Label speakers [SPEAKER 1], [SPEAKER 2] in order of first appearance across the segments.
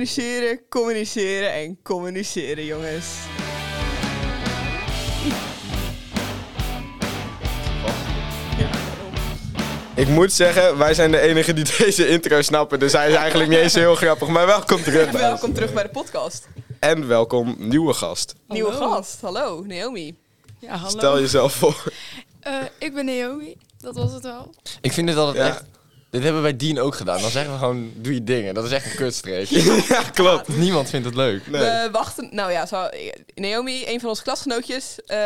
[SPEAKER 1] Communiceren, communiceren en communiceren, jongens.
[SPEAKER 2] Ik moet zeggen, wij zijn de enige die deze intro snappen. Dus hij is eigenlijk niet eens heel grappig. Maar welkom terug. bij ons.
[SPEAKER 1] Welkom terug bij de podcast.
[SPEAKER 2] En welkom nieuwe gast.
[SPEAKER 1] Nieuwe
[SPEAKER 3] Hallo.
[SPEAKER 1] gast, hallo Naomi.
[SPEAKER 3] Ja, hallo.
[SPEAKER 2] Stel jezelf voor.
[SPEAKER 3] Eh, ik ben Naomi. Dat was het wel.
[SPEAKER 4] Ik vind het altijd
[SPEAKER 2] Ja.
[SPEAKER 4] echt... Dit hebben wij Dien ook gedaan. Dan zeggen we gewoon, doe je dingen. Dat is echt een kutstreek.
[SPEAKER 2] ja,
[SPEAKER 1] Ah,
[SPEAKER 2] klopt.
[SPEAKER 4] Niemand vindt het leuk.
[SPEAKER 2] Nee,
[SPEAKER 1] We wachten, nou ja, zo, Naomi, een van onze klasgenootjes. eh,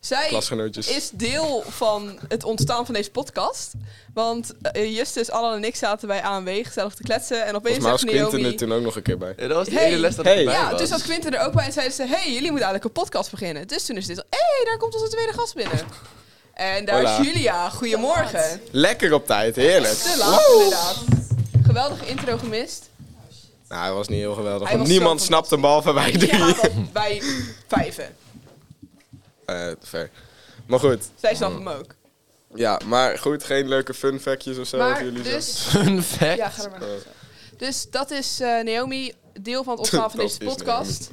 [SPEAKER 1] zij
[SPEAKER 2] klasgenootjes.
[SPEAKER 1] is deel van het ontstaan van deze podcast. Want eh, Justus, Allan en ik zaten bij ANW gezellig te kletsen. En opeens
[SPEAKER 2] Volgens mij was
[SPEAKER 1] zegt
[SPEAKER 2] Quinten er
[SPEAKER 1] Naomi...
[SPEAKER 2] toen ook nog een keer bij.
[SPEAKER 4] Dat was de
[SPEAKER 1] Hey.
[SPEAKER 4] hele les dat
[SPEAKER 2] Hey.
[SPEAKER 4] ik erbij
[SPEAKER 1] Ja,
[SPEAKER 4] was.
[SPEAKER 1] dus had Quinten er ook bij en zeiden ze... hey, jullie moeten eigenlijk een podcast beginnen. Dus toen is dit... Hé, hey, daar komt onze tweede gast binnen. En daar
[SPEAKER 2] Hola.
[SPEAKER 1] is Julia. Goedemorgen.
[SPEAKER 2] Lekker op tijd, heerlijk.
[SPEAKER 1] Te laat, inderdaad. Geweldige intro gemist.
[SPEAKER 2] Nou, hij was niet heel geweldig.
[SPEAKER 1] Hij was
[SPEAKER 2] Want
[SPEAKER 1] zo
[SPEAKER 2] niemand snapt hem behalve wij drie.
[SPEAKER 1] Ja, want wij vijven.
[SPEAKER 2] Eh, te ver. Maar goed.
[SPEAKER 1] Zij snap hem ook.
[SPEAKER 2] Ja, maar goed. Geen leuke fun factjes of zo. of
[SPEAKER 1] Maar
[SPEAKER 2] jullie Eh. zo.
[SPEAKER 1] dus...
[SPEAKER 4] Fun fact.
[SPEAKER 1] Ja, ga er maar. Dus dat is eh, Naomi, deel van het ontstaan van
[SPEAKER 2] Dat
[SPEAKER 1] deze
[SPEAKER 2] is
[SPEAKER 1] podcast.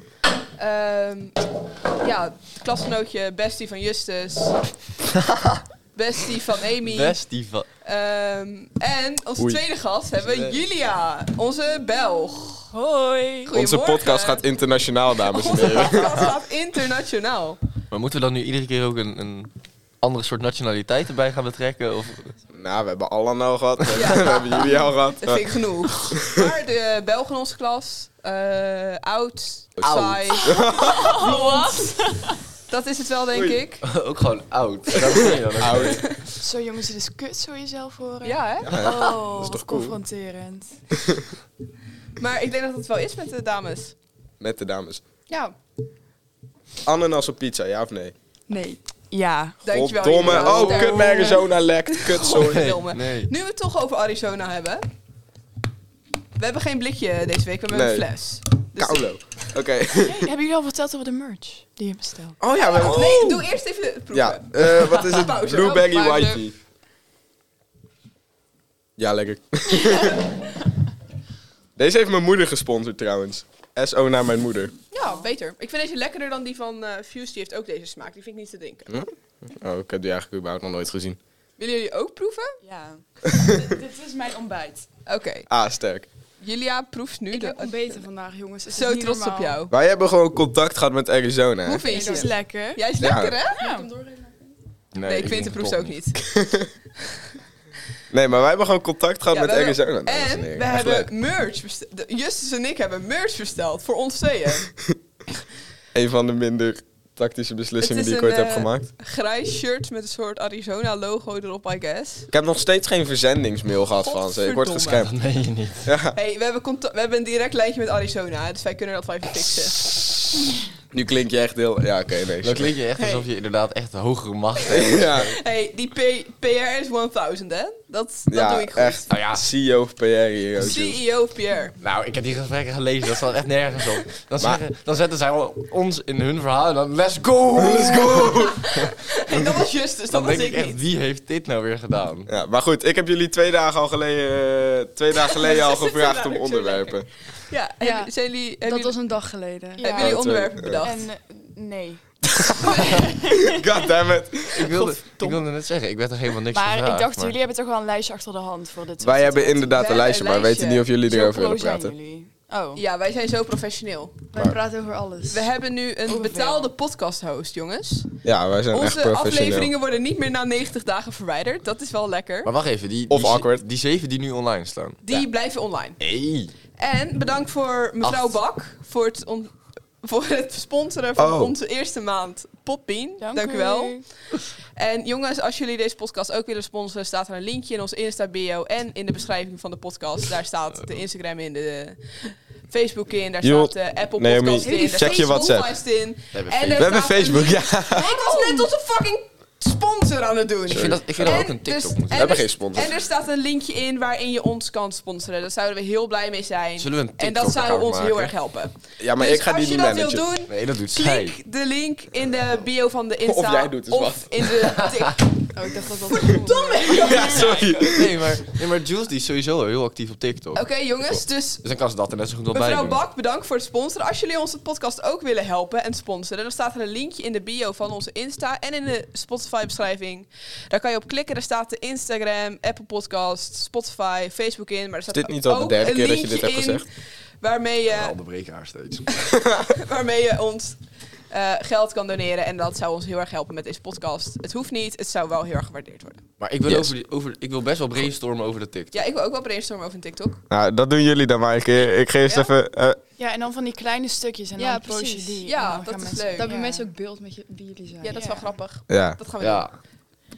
[SPEAKER 1] Ehm, ja, klasgenootje, bestie van Justus. bestie van Amy.
[SPEAKER 4] Bestie van...
[SPEAKER 1] Ehm, en onze
[SPEAKER 2] Oei.
[SPEAKER 1] tweede gast hebben we Julia, onze Belg.
[SPEAKER 3] Hoi.
[SPEAKER 2] Onze
[SPEAKER 1] Goedemorgen.
[SPEAKER 2] podcast gaat internationaal, dames en
[SPEAKER 1] Onze
[SPEAKER 2] heren.
[SPEAKER 1] podcast gaat internationaal.
[SPEAKER 4] Maar moeten we dan nu iedere keer ook een, een andere soort nationaliteit erbij gaan betrekken? Of...
[SPEAKER 2] Nou, we hebben Allan al gehad. We hebben jullie al gehad.
[SPEAKER 1] Oh. Dat vind ik genoeg. Maar de Belg in onze klas, eh, oud,
[SPEAKER 2] Oud.
[SPEAKER 1] saai. Dat is het wel, denk
[SPEAKER 2] Oei.
[SPEAKER 1] ik.
[SPEAKER 4] ook gewoon oud. Dat ben je dan ook.
[SPEAKER 2] Oud.
[SPEAKER 3] Zo jongens, het is kut zo jezelf horen.
[SPEAKER 1] Ja, hè?
[SPEAKER 3] Oh,
[SPEAKER 2] is toch cool?
[SPEAKER 3] wat confronterend.
[SPEAKER 1] Maar ik denk dat het wel is met de dames.
[SPEAKER 2] Met de dames.
[SPEAKER 1] Ja,
[SPEAKER 2] Ananas op pizza, ja of nee?
[SPEAKER 3] Nee. Ja.
[SPEAKER 1] dankjewel. Oh,
[SPEAKER 2] Goddomme.
[SPEAKER 1] Jurgen.
[SPEAKER 2] Oh, kut, mijn Arizona lekt. Kut, sorry.
[SPEAKER 1] Godverdomme.
[SPEAKER 4] nee.
[SPEAKER 1] Nu we het toch over Arizona hebben. We hebben geen blikje deze week, we hebben
[SPEAKER 2] Nee.
[SPEAKER 1] een fles. Dus
[SPEAKER 2] Kaulo. Oké.
[SPEAKER 3] Hey, hebben jullie al verteld over de merch die je bestelt?
[SPEAKER 2] Oh ja, we hebben...
[SPEAKER 1] Nee, doe eerst even het proeven.
[SPEAKER 2] Ja, eh, wat is het?
[SPEAKER 1] Pauze. oh,
[SPEAKER 2] Blueberry
[SPEAKER 1] Pauze.
[SPEAKER 2] whitey. Ja, lekker. Deze heeft mijn moeder gesponsord trouwens. SO naar mijn moeder.
[SPEAKER 1] Ja, beter. Ik vind deze lekkerder dan die van eh Fuse. Die heeft ook deze smaak. Die vind ik niet te denken.
[SPEAKER 2] Oh, ik heb die eigenlijk überhaupt nog nooit gezien.
[SPEAKER 1] Willen jullie ook proeven?
[SPEAKER 5] Ja, D- dit is mijn ontbijt.
[SPEAKER 1] Oké.
[SPEAKER 2] Ah, sterk.
[SPEAKER 1] Julia proeft nu
[SPEAKER 5] Ik
[SPEAKER 1] de...
[SPEAKER 5] heb ontbeten vandaag, jongens. Het is
[SPEAKER 1] Zo
[SPEAKER 5] niet
[SPEAKER 1] trots
[SPEAKER 5] normaal.
[SPEAKER 1] op jou.
[SPEAKER 2] Wij hebben gewoon contact gehad met Arizona. hè?
[SPEAKER 1] Hoe vind
[SPEAKER 5] Het
[SPEAKER 1] je
[SPEAKER 5] is
[SPEAKER 1] het?
[SPEAKER 5] lekker.
[SPEAKER 1] Jij is
[SPEAKER 2] Ja.
[SPEAKER 1] lekker, hè?
[SPEAKER 5] Ja.
[SPEAKER 1] Nee, ik vind de
[SPEAKER 4] het
[SPEAKER 1] proeft ook niet.
[SPEAKER 2] Nee, maar wij hebben gewoon contact gehad
[SPEAKER 1] Ja, we
[SPEAKER 2] met
[SPEAKER 1] hebben-
[SPEAKER 2] Arizona. dames
[SPEAKER 1] En
[SPEAKER 2] heren.
[SPEAKER 1] we
[SPEAKER 2] Echt leuk.
[SPEAKER 1] hebben merch besteld. Justus en ik hebben merch besteld voor ons tweeën.
[SPEAKER 2] Een van de minder tactische beslissingen
[SPEAKER 1] Het
[SPEAKER 2] die
[SPEAKER 1] is
[SPEAKER 2] ik ooit
[SPEAKER 1] een,
[SPEAKER 2] heb
[SPEAKER 1] eh,
[SPEAKER 2] gemaakt.
[SPEAKER 1] Grijs shirt met een soort Arizona-logo erop, I guess.
[SPEAKER 2] Ik heb nog steeds geen verzendingsmail gehad van ze. Ik word
[SPEAKER 1] Godverdomme.
[SPEAKER 2] geschermd.
[SPEAKER 4] Dat meen je niet.
[SPEAKER 2] Ja.
[SPEAKER 1] hey, we, hebben contact- we hebben een direct lijntje met Arizona, dus wij kunnen dat wel even fixen.
[SPEAKER 2] Nu klink je echt heel... Ja, oké, nee.
[SPEAKER 4] Dan
[SPEAKER 2] sorry.
[SPEAKER 4] klink je echt
[SPEAKER 1] Hey.
[SPEAKER 4] alsof je inderdaad echt hogere macht hebt.
[SPEAKER 2] Ja,
[SPEAKER 1] hey, die P- PR is 1000, hè? Dat, dat
[SPEAKER 2] ja
[SPEAKER 1] doe ik goed. E
[SPEAKER 2] echt.
[SPEAKER 4] Nou ja,
[SPEAKER 2] CEO of PR hier. ook, dus. joh.
[SPEAKER 1] CEO of PR.
[SPEAKER 4] Nou, ik heb die gesprekken gelezen, dat staat echt nergens op. Dan, zeggen, dan zetten zij wel ons in hun verhaal en dan let's go! Let's go!
[SPEAKER 1] Hey, dat was Justus, dat
[SPEAKER 4] Dan
[SPEAKER 1] was
[SPEAKER 4] denk ik
[SPEAKER 1] ik
[SPEAKER 4] echt,
[SPEAKER 1] niet.
[SPEAKER 4] wie heeft dit nou weer gedaan?
[SPEAKER 2] Ja, maar goed, ik heb jullie twee dagen al geleden, eh, twee dagen geleden al
[SPEAKER 1] Ze zitten
[SPEAKER 2] gevraagd
[SPEAKER 1] daar
[SPEAKER 2] om
[SPEAKER 1] ook zo
[SPEAKER 2] onderwerpen.
[SPEAKER 1] Ja,
[SPEAKER 5] Ja.
[SPEAKER 1] hebben- zijn jullie... Hebben
[SPEAKER 5] Dat
[SPEAKER 1] jullie,
[SPEAKER 5] was een dag geleden.
[SPEAKER 1] hebben
[SPEAKER 3] Ja.
[SPEAKER 1] jullie
[SPEAKER 2] Oh, twee.
[SPEAKER 1] onderwerpen bedacht?
[SPEAKER 5] En eh, nee.
[SPEAKER 2] Goddammit.
[SPEAKER 4] Ik wilde, ik wilde net zeggen, ik werd er helemaal niks
[SPEAKER 5] Maar
[SPEAKER 4] gevraagd.
[SPEAKER 5] ik dacht, jullie hebben toch wel een lijstje achter de hand voor dit soort
[SPEAKER 2] Wij hebben
[SPEAKER 5] situaties?
[SPEAKER 2] inderdaad een
[SPEAKER 1] Wij
[SPEAKER 2] lijstje, maar
[SPEAKER 1] hebben een
[SPEAKER 2] weten niet of jullie
[SPEAKER 5] Zo
[SPEAKER 2] erover
[SPEAKER 5] pro
[SPEAKER 2] willen
[SPEAKER 5] zijn
[SPEAKER 2] praten.
[SPEAKER 5] jullie. Oh,
[SPEAKER 1] Ja, wij zijn zo professioneel.
[SPEAKER 5] wij praten over alles.
[SPEAKER 1] We hebben nu een
[SPEAKER 5] Hoeveel?
[SPEAKER 1] betaalde podcast-host, jongens.
[SPEAKER 2] Oh, Ja, wij zijn echt
[SPEAKER 1] Onze
[SPEAKER 2] professioneel.
[SPEAKER 1] afleveringen worden niet meer na 90 dagen verwijderd. Dat is wel lekker.
[SPEAKER 4] Maar wacht even, die,
[SPEAKER 2] Of
[SPEAKER 4] die,
[SPEAKER 2] awkward.
[SPEAKER 4] die zeven die nu online staan.
[SPEAKER 1] Die blijven online.
[SPEAKER 4] Hey.
[SPEAKER 1] En bedankt voor mevrouw
[SPEAKER 4] Acht.
[SPEAKER 1] Bak voor het, on- voor het sponsoren van
[SPEAKER 2] Oh.
[SPEAKER 1] onze eerste maand Popbean. Dank, u wel.
[SPEAKER 5] Oh,
[SPEAKER 1] En jongens, als jullie deze podcast ook willen sponsoren, staat er een linkje in ons Insta-bio en in de beschrijving van de podcast. Daar staat de Instagram in, de Facebook in, daar
[SPEAKER 2] Joh,
[SPEAKER 1] staat de Apple
[SPEAKER 2] Naomi,
[SPEAKER 1] Podcast in, daar
[SPEAKER 2] check
[SPEAKER 1] staat
[SPEAKER 2] je
[SPEAKER 1] de
[SPEAKER 2] WhatsApp.
[SPEAKER 1] Spotify's in.
[SPEAKER 4] We
[SPEAKER 1] En
[SPEAKER 4] hebben Facebook.
[SPEAKER 1] er
[SPEAKER 2] We hebben
[SPEAKER 1] staat een-
[SPEAKER 2] Facebook, ja.
[SPEAKER 1] Ik was net onze fucking sponsor aan het doen.
[SPEAKER 4] Ik vind dat, ik vind dat we ook een
[SPEAKER 1] En
[SPEAKER 4] TikTok
[SPEAKER 1] dus-
[SPEAKER 4] moeten
[SPEAKER 1] en
[SPEAKER 2] hebben
[SPEAKER 1] er-
[SPEAKER 2] geen sponsor.
[SPEAKER 1] En er staat een linkje in waarin je ons kan sponsoren. Daar zouden we heel blij mee zijn.
[SPEAKER 4] Zullen we een
[SPEAKER 1] en dat zou
[SPEAKER 4] TikTok-account
[SPEAKER 1] ons heel
[SPEAKER 4] maken?
[SPEAKER 1] erg helpen.
[SPEAKER 2] Ja, maar
[SPEAKER 1] Dus
[SPEAKER 2] ik ga die niet
[SPEAKER 1] Als je dat
[SPEAKER 2] managen.
[SPEAKER 1] wil doen,
[SPEAKER 4] Nee, dat doet zij.
[SPEAKER 1] klik de link in de bio van de Insta.
[SPEAKER 2] Of jij doet eens
[SPEAKER 1] of
[SPEAKER 2] wat.
[SPEAKER 1] in de tik-
[SPEAKER 5] Oh, ik dacht dat dat... Verdomme!
[SPEAKER 2] Ja,
[SPEAKER 1] eh,
[SPEAKER 2] sorry.
[SPEAKER 4] Nee, maar, nee, maar Jules die is sowieso heel actief op TikTok.
[SPEAKER 1] Oké, jongens, dus
[SPEAKER 4] Dus dan kan ze dat er net zo goed wel bij
[SPEAKER 1] Mevrouw
[SPEAKER 4] doen.
[SPEAKER 1] Bak, bedankt voor het sponsoren. Als jullie onze podcast ook willen helpen en sponsoren, dan staat er een linkje in de bio van onze Insta en in de Spotify-beschrijving. Daar kan je op klikken. Daar staat de Instagram, Apple Podcast, Spotify, Facebook in. Maar er staat
[SPEAKER 2] Is dit niet al de
[SPEAKER 1] ook
[SPEAKER 2] derde
[SPEAKER 1] een
[SPEAKER 2] keer dat je dit
[SPEAKER 1] linkje
[SPEAKER 2] hebt
[SPEAKER 1] in
[SPEAKER 2] gezegd?
[SPEAKER 1] Waarmee
[SPEAKER 4] Ja,
[SPEAKER 1] je,
[SPEAKER 4] onderbreek haar steeds.
[SPEAKER 1] waarmee je ons eh, geld kan doneren. En dat zou ons heel erg helpen met deze podcast. Het hoeft niet, het zou wel heel erg gewaardeerd worden.
[SPEAKER 4] Maar ik wil,
[SPEAKER 2] Yes.
[SPEAKER 4] over, die- over, ik wil best wel brainstormen over de TikTok.
[SPEAKER 1] Ja, ik wil ook wel brainstormen over een TikTok.
[SPEAKER 2] Nou, dat doen jullie dan maar. Ik, ik geef eerst
[SPEAKER 1] Ja?
[SPEAKER 2] even... eh,
[SPEAKER 3] Ja, en dan van die kleine stukjes en
[SPEAKER 5] Ja,
[SPEAKER 3] dan post je
[SPEAKER 5] precies.
[SPEAKER 3] die.
[SPEAKER 1] Ja,
[SPEAKER 3] en dan
[SPEAKER 1] dat
[SPEAKER 3] gaan
[SPEAKER 1] is
[SPEAKER 3] mensen-
[SPEAKER 1] leuk.
[SPEAKER 5] Dat hebben
[SPEAKER 3] Ja.
[SPEAKER 5] mensen ook beeld met je, wie jullie zijn.
[SPEAKER 1] Ja, dat is wel
[SPEAKER 3] Ja.
[SPEAKER 1] grappig.
[SPEAKER 2] ja.
[SPEAKER 1] Dat gaan we doen.
[SPEAKER 4] Ja,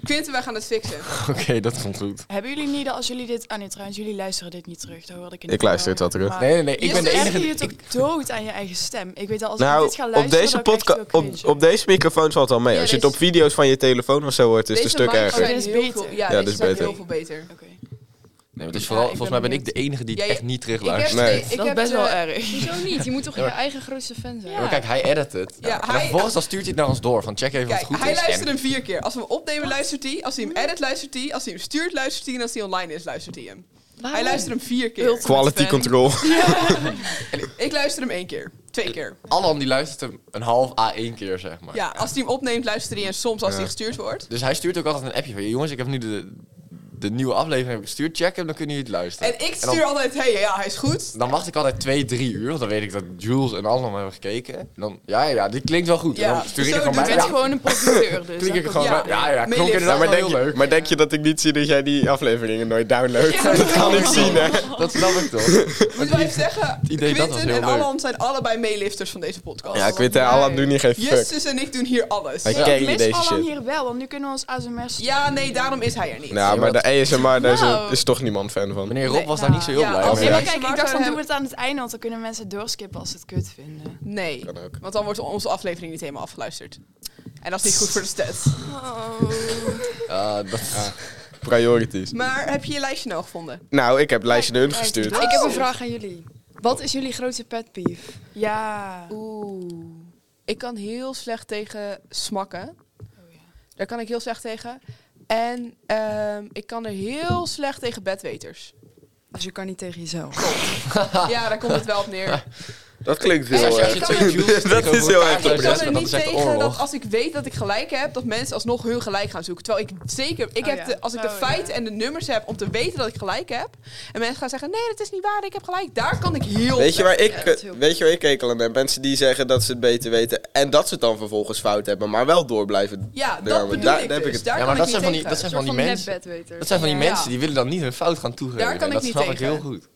[SPEAKER 1] Quinten, wij gaan het fixen.
[SPEAKER 4] oké, dat komt goed.
[SPEAKER 3] Hebben jullie niet, als jullie dit... Ah nee, trouwens, jullie luisteren dit niet terug. Dat hoorde ik in
[SPEAKER 2] Ik luister het wel terug.
[SPEAKER 4] Nee, nee, nee, ik
[SPEAKER 1] Yes,
[SPEAKER 4] ben de
[SPEAKER 1] echt?
[SPEAKER 4] enige...
[SPEAKER 3] je
[SPEAKER 4] die-
[SPEAKER 3] het ook dood aan je eigen stem. Ik weet al, als ik
[SPEAKER 2] Nou,
[SPEAKER 3] dit ga
[SPEAKER 2] op
[SPEAKER 3] luisteren,
[SPEAKER 2] deze,
[SPEAKER 3] dan krijg ik
[SPEAKER 2] podca-
[SPEAKER 3] het wel
[SPEAKER 2] op,
[SPEAKER 3] cringe.
[SPEAKER 2] op deze microfoon valt het al mee.
[SPEAKER 1] Ja,
[SPEAKER 2] Als je het
[SPEAKER 1] deze-
[SPEAKER 2] op video's van je telefoon of zo hoort, is het een
[SPEAKER 1] Deze
[SPEAKER 2] stuk
[SPEAKER 1] mics
[SPEAKER 2] erger.
[SPEAKER 1] zijn
[SPEAKER 3] Dit is
[SPEAKER 1] heel
[SPEAKER 3] beter.
[SPEAKER 1] veel- ja,
[SPEAKER 2] Ja, dit
[SPEAKER 1] deze
[SPEAKER 2] is
[SPEAKER 1] zijn
[SPEAKER 2] beter.
[SPEAKER 1] heel veel beter.
[SPEAKER 3] Oké.
[SPEAKER 4] Nee, maar het is
[SPEAKER 3] Ja,
[SPEAKER 4] vooral,
[SPEAKER 3] ik ben
[SPEAKER 4] volgens mij ben ik de
[SPEAKER 3] benieuwd.
[SPEAKER 4] enige die het
[SPEAKER 1] Ja,
[SPEAKER 4] echt niet
[SPEAKER 1] Ik heb,
[SPEAKER 4] terugluistert.
[SPEAKER 2] Nee.
[SPEAKER 1] ik
[SPEAKER 3] Dat is
[SPEAKER 1] heb eh,
[SPEAKER 3] best
[SPEAKER 1] de-
[SPEAKER 3] wel erg.
[SPEAKER 5] Hoezo niet? Je moet toch
[SPEAKER 4] Ja, maar-
[SPEAKER 5] je eigen grootste fan zijn?
[SPEAKER 4] Ja, maar kijk, hij edit het.
[SPEAKER 1] Ja,
[SPEAKER 4] en
[SPEAKER 1] hij-
[SPEAKER 4] dan vervolgens dan stuurt hij het naar ons door. Van check even
[SPEAKER 1] Kijk,
[SPEAKER 4] of het goed
[SPEAKER 1] hij
[SPEAKER 4] is.
[SPEAKER 1] luistert
[SPEAKER 4] en-
[SPEAKER 1] hem vier keer. Als we hem opnemen, luistert hij. Als hij hem edit, luistert hij. Als hij hem stuurt, luistert hij. En als hij online is, luistert hij hem. Hij luistert hem vier keer.
[SPEAKER 2] Quality
[SPEAKER 3] fan.
[SPEAKER 2] control.
[SPEAKER 1] Ik luister hem één keer. Twee keer.
[SPEAKER 4] Alan die luistert hem een half A1 keer, zeg maar.
[SPEAKER 1] Ja, als hij hem opneemt, luistert hij. En soms als hij gestuurd wordt.
[SPEAKER 4] Dus hij stuurt ook altijd een appje van... Jongens, ik heb nu de, de nieuwe aflevering heb ik gestuurd. Check hem, dan kunnen jullie het luisteren.
[SPEAKER 1] En ik
[SPEAKER 4] dan-
[SPEAKER 1] stuur altijd, hé, hey, ja, hij is goed.
[SPEAKER 4] Dan wacht ik altijd twee, drie uur, want dan weet ik dat Jules en Alan hebben gekeken. En dan, ja, ja, ja, dit klinkt wel goed.
[SPEAKER 1] Ja,
[SPEAKER 4] en dan stuur ik
[SPEAKER 1] zo
[SPEAKER 4] er gewoon
[SPEAKER 1] doet
[SPEAKER 4] bij.
[SPEAKER 3] Je
[SPEAKER 1] het
[SPEAKER 4] Ja,
[SPEAKER 3] bent gewoon een producteur, dus.
[SPEAKER 4] klink ik er
[SPEAKER 3] dat
[SPEAKER 4] gewoon
[SPEAKER 1] Ja.
[SPEAKER 4] bij. Ja, ja, klonk
[SPEAKER 1] Meelift.
[SPEAKER 4] inderdaad
[SPEAKER 1] Ja,
[SPEAKER 2] maar
[SPEAKER 4] wel
[SPEAKER 2] denk,
[SPEAKER 4] heel
[SPEAKER 2] je,
[SPEAKER 4] leuk.
[SPEAKER 2] maar denk je dat ik niet zie dat jij die afleveringen nooit downloadt?
[SPEAKER 1] Ja.
[SPEAKER 2] dat kan ik zien, hè?
[SPEAKER 4] Dat snap ik toch.
[SPEAKER 1] Moeten wij even zeggen,
[SPEAKER 4] idee, dat was
[SPEAKER 1] Quinten en
[SPEAKER 4] heel leuk.
[SPEAKER 1] Alan zijn allebei meelifters van deze podcast.
[SPEAKER 2] Ja, ik weet het, Alan doet niet geen fuck.
[SPEAKER 1] Justus en ik doen hier alles.
[SPEAKER 2] Hij
[SPEAKER 3] Ja,
[SPEAKER 2] ken
[SPEAKER 3] ik
[SPEAKER 2] je
[SPEAKER 3] mis
[SPEAKER 2] deze
[SPEAKER 3] Alan
[SPEAKER 2] shit.
[SPEAKER 3] hier wel, want nu kunnen we ons ASMR... Ja.
[SPEAKER 1] Ja, nee, daarom is hij er niet.
[SPEAKER 2] Nou, maar de ASMR, daar is,
[SPEAKER 5] Nou.
[SPEAKER 2] is toch niemand fan van.
[SPEAKER 4] Meneer Rob
[SPEAKER 1] Nee,
[SPEAKER 4] was daar niet zo heel
[SPEAKER 1] ja,
[SPEAKER 4] blij
[SPEAKER 1] als
[SPEAKER 4] mee.
[SPEAKER 1] je-
[SPEAKER 3] maar
[SPEAKER 1] Ja.
[SPEAKER 3] kijk, ik dacht van doen we het aan het einde, want dan kunnen mensen doorskippen als ze het kut vinden.
[SPEAKER 1] Nee,
[SPEAKER 2] Kan ook.
[SPEAKER 1] want dan wordt onze aflevering niet helemaal afgeluisterd. En dat is niet goed voor de stats.
[SPEAKER 4] Ja, dat,
[SPEAKER 2] Priorities.
[SPEAKER 1] Maar heb je je lijstje nou gevonden?
[SPEAKER 2] Nou, ik heb het lijstje naar hun gestuurd.
[SPEAKER 5] Ik heb een vraag aan jullie. Wat is jullie grootste pet peeve?
[SPEAKER 3] Ja.
[SPEAKER 1] Oeh. Ik kan heel slecht tegen smakken.
[SPEAKER 3] Oh ja.
[SPEAKER 1] Daar kan ik heel slecht tegen. En ehm, ik kan er heel slecht tegen bedweters.
[SPEAKER 5] Dus je kan niet tegen jezelf.
[SPEAKER 1] Ja, daar komt het wel op neer.
[SPEAKER 2] Dat klinkt
[SPEAKER 1] heel
[SPEAKER 2] heel
[SPEAKER 1] Als je- erg.
[SPEAKER 2] erg.
[SPEAKER 1] ik kan-
[SPEAKER 2] Dat is heel erg
[SPEAKER 1] Ik kan er
[SPEAKER 4] Dat
[SPEAKER 1] niet
[SPEAKER 4] is echt
[SPEAKER 1] tegen dat
[SPEAKER 4] oorlog.
[SPEAKER 1] als ik weet dat ik gelijk heb, dat mensen alsnog hun gelijk gaan zoeken. Terwijl ik zeker, ik
[SPEAKER 5] Oh
[SPEAKER 1] heb
[SPEAKER 5] ja.
[SPEAKER 1] de, als ik de
[SPEAKER 3] Oh ja.
[SPEAKER 1] feiten en de nummers heb om te weten dat ik gelijk heb. En mensen gaan zeggen, nee, dat is niet waar, ik heb gelijk. Daar kan ik heel
[SPEAKER 2] Weet je, waar ik,
[SPEAKER 5] dat is heel
[SPEAKER 2] weet je waar ik kekel aan heb? Mensen die zeggen dat ze het beter weten en dat ze het dan vervolgens fout hebben, maar wel door blijven.
[SPEAKER 1] Ja, dat
[SPEAKER 2] draaien.
[SPEAKER 1] bedoel
[SPEAKER 2] Daar-
[SPEAKER 1] ik
[SPEAKER 2] daar heb
[SPEAKER 1] dus.
[SPEAKER 2] ik het-
[SPEAKER 1] Daar
[SPEAKER 4] Ja,
[SPEAKER 1] kan
[SPEAKER 4] maar dat
[SPEAKER 1] ik
[SPEAKER 4] zijn
[SPEAKER 1] niet
[SPEAKER 4] van die,
[SPEAKER 1] tegen.
[SPEAKER 4] dat zijn van die mensen. Dat zijn van die
[SPEAKER 1] Ja.
[SPEAKER 4] mensen die willen dan niet hun fout gaan toegeven.
[SPEAKER 1] Daar kan ik
[SPEAKER 4] dat
[SPEAKER 1] niet
[SPEAKER 4] snap ik
[SPEAKER 1] tegen.
[SPEAKER 4] heel goed.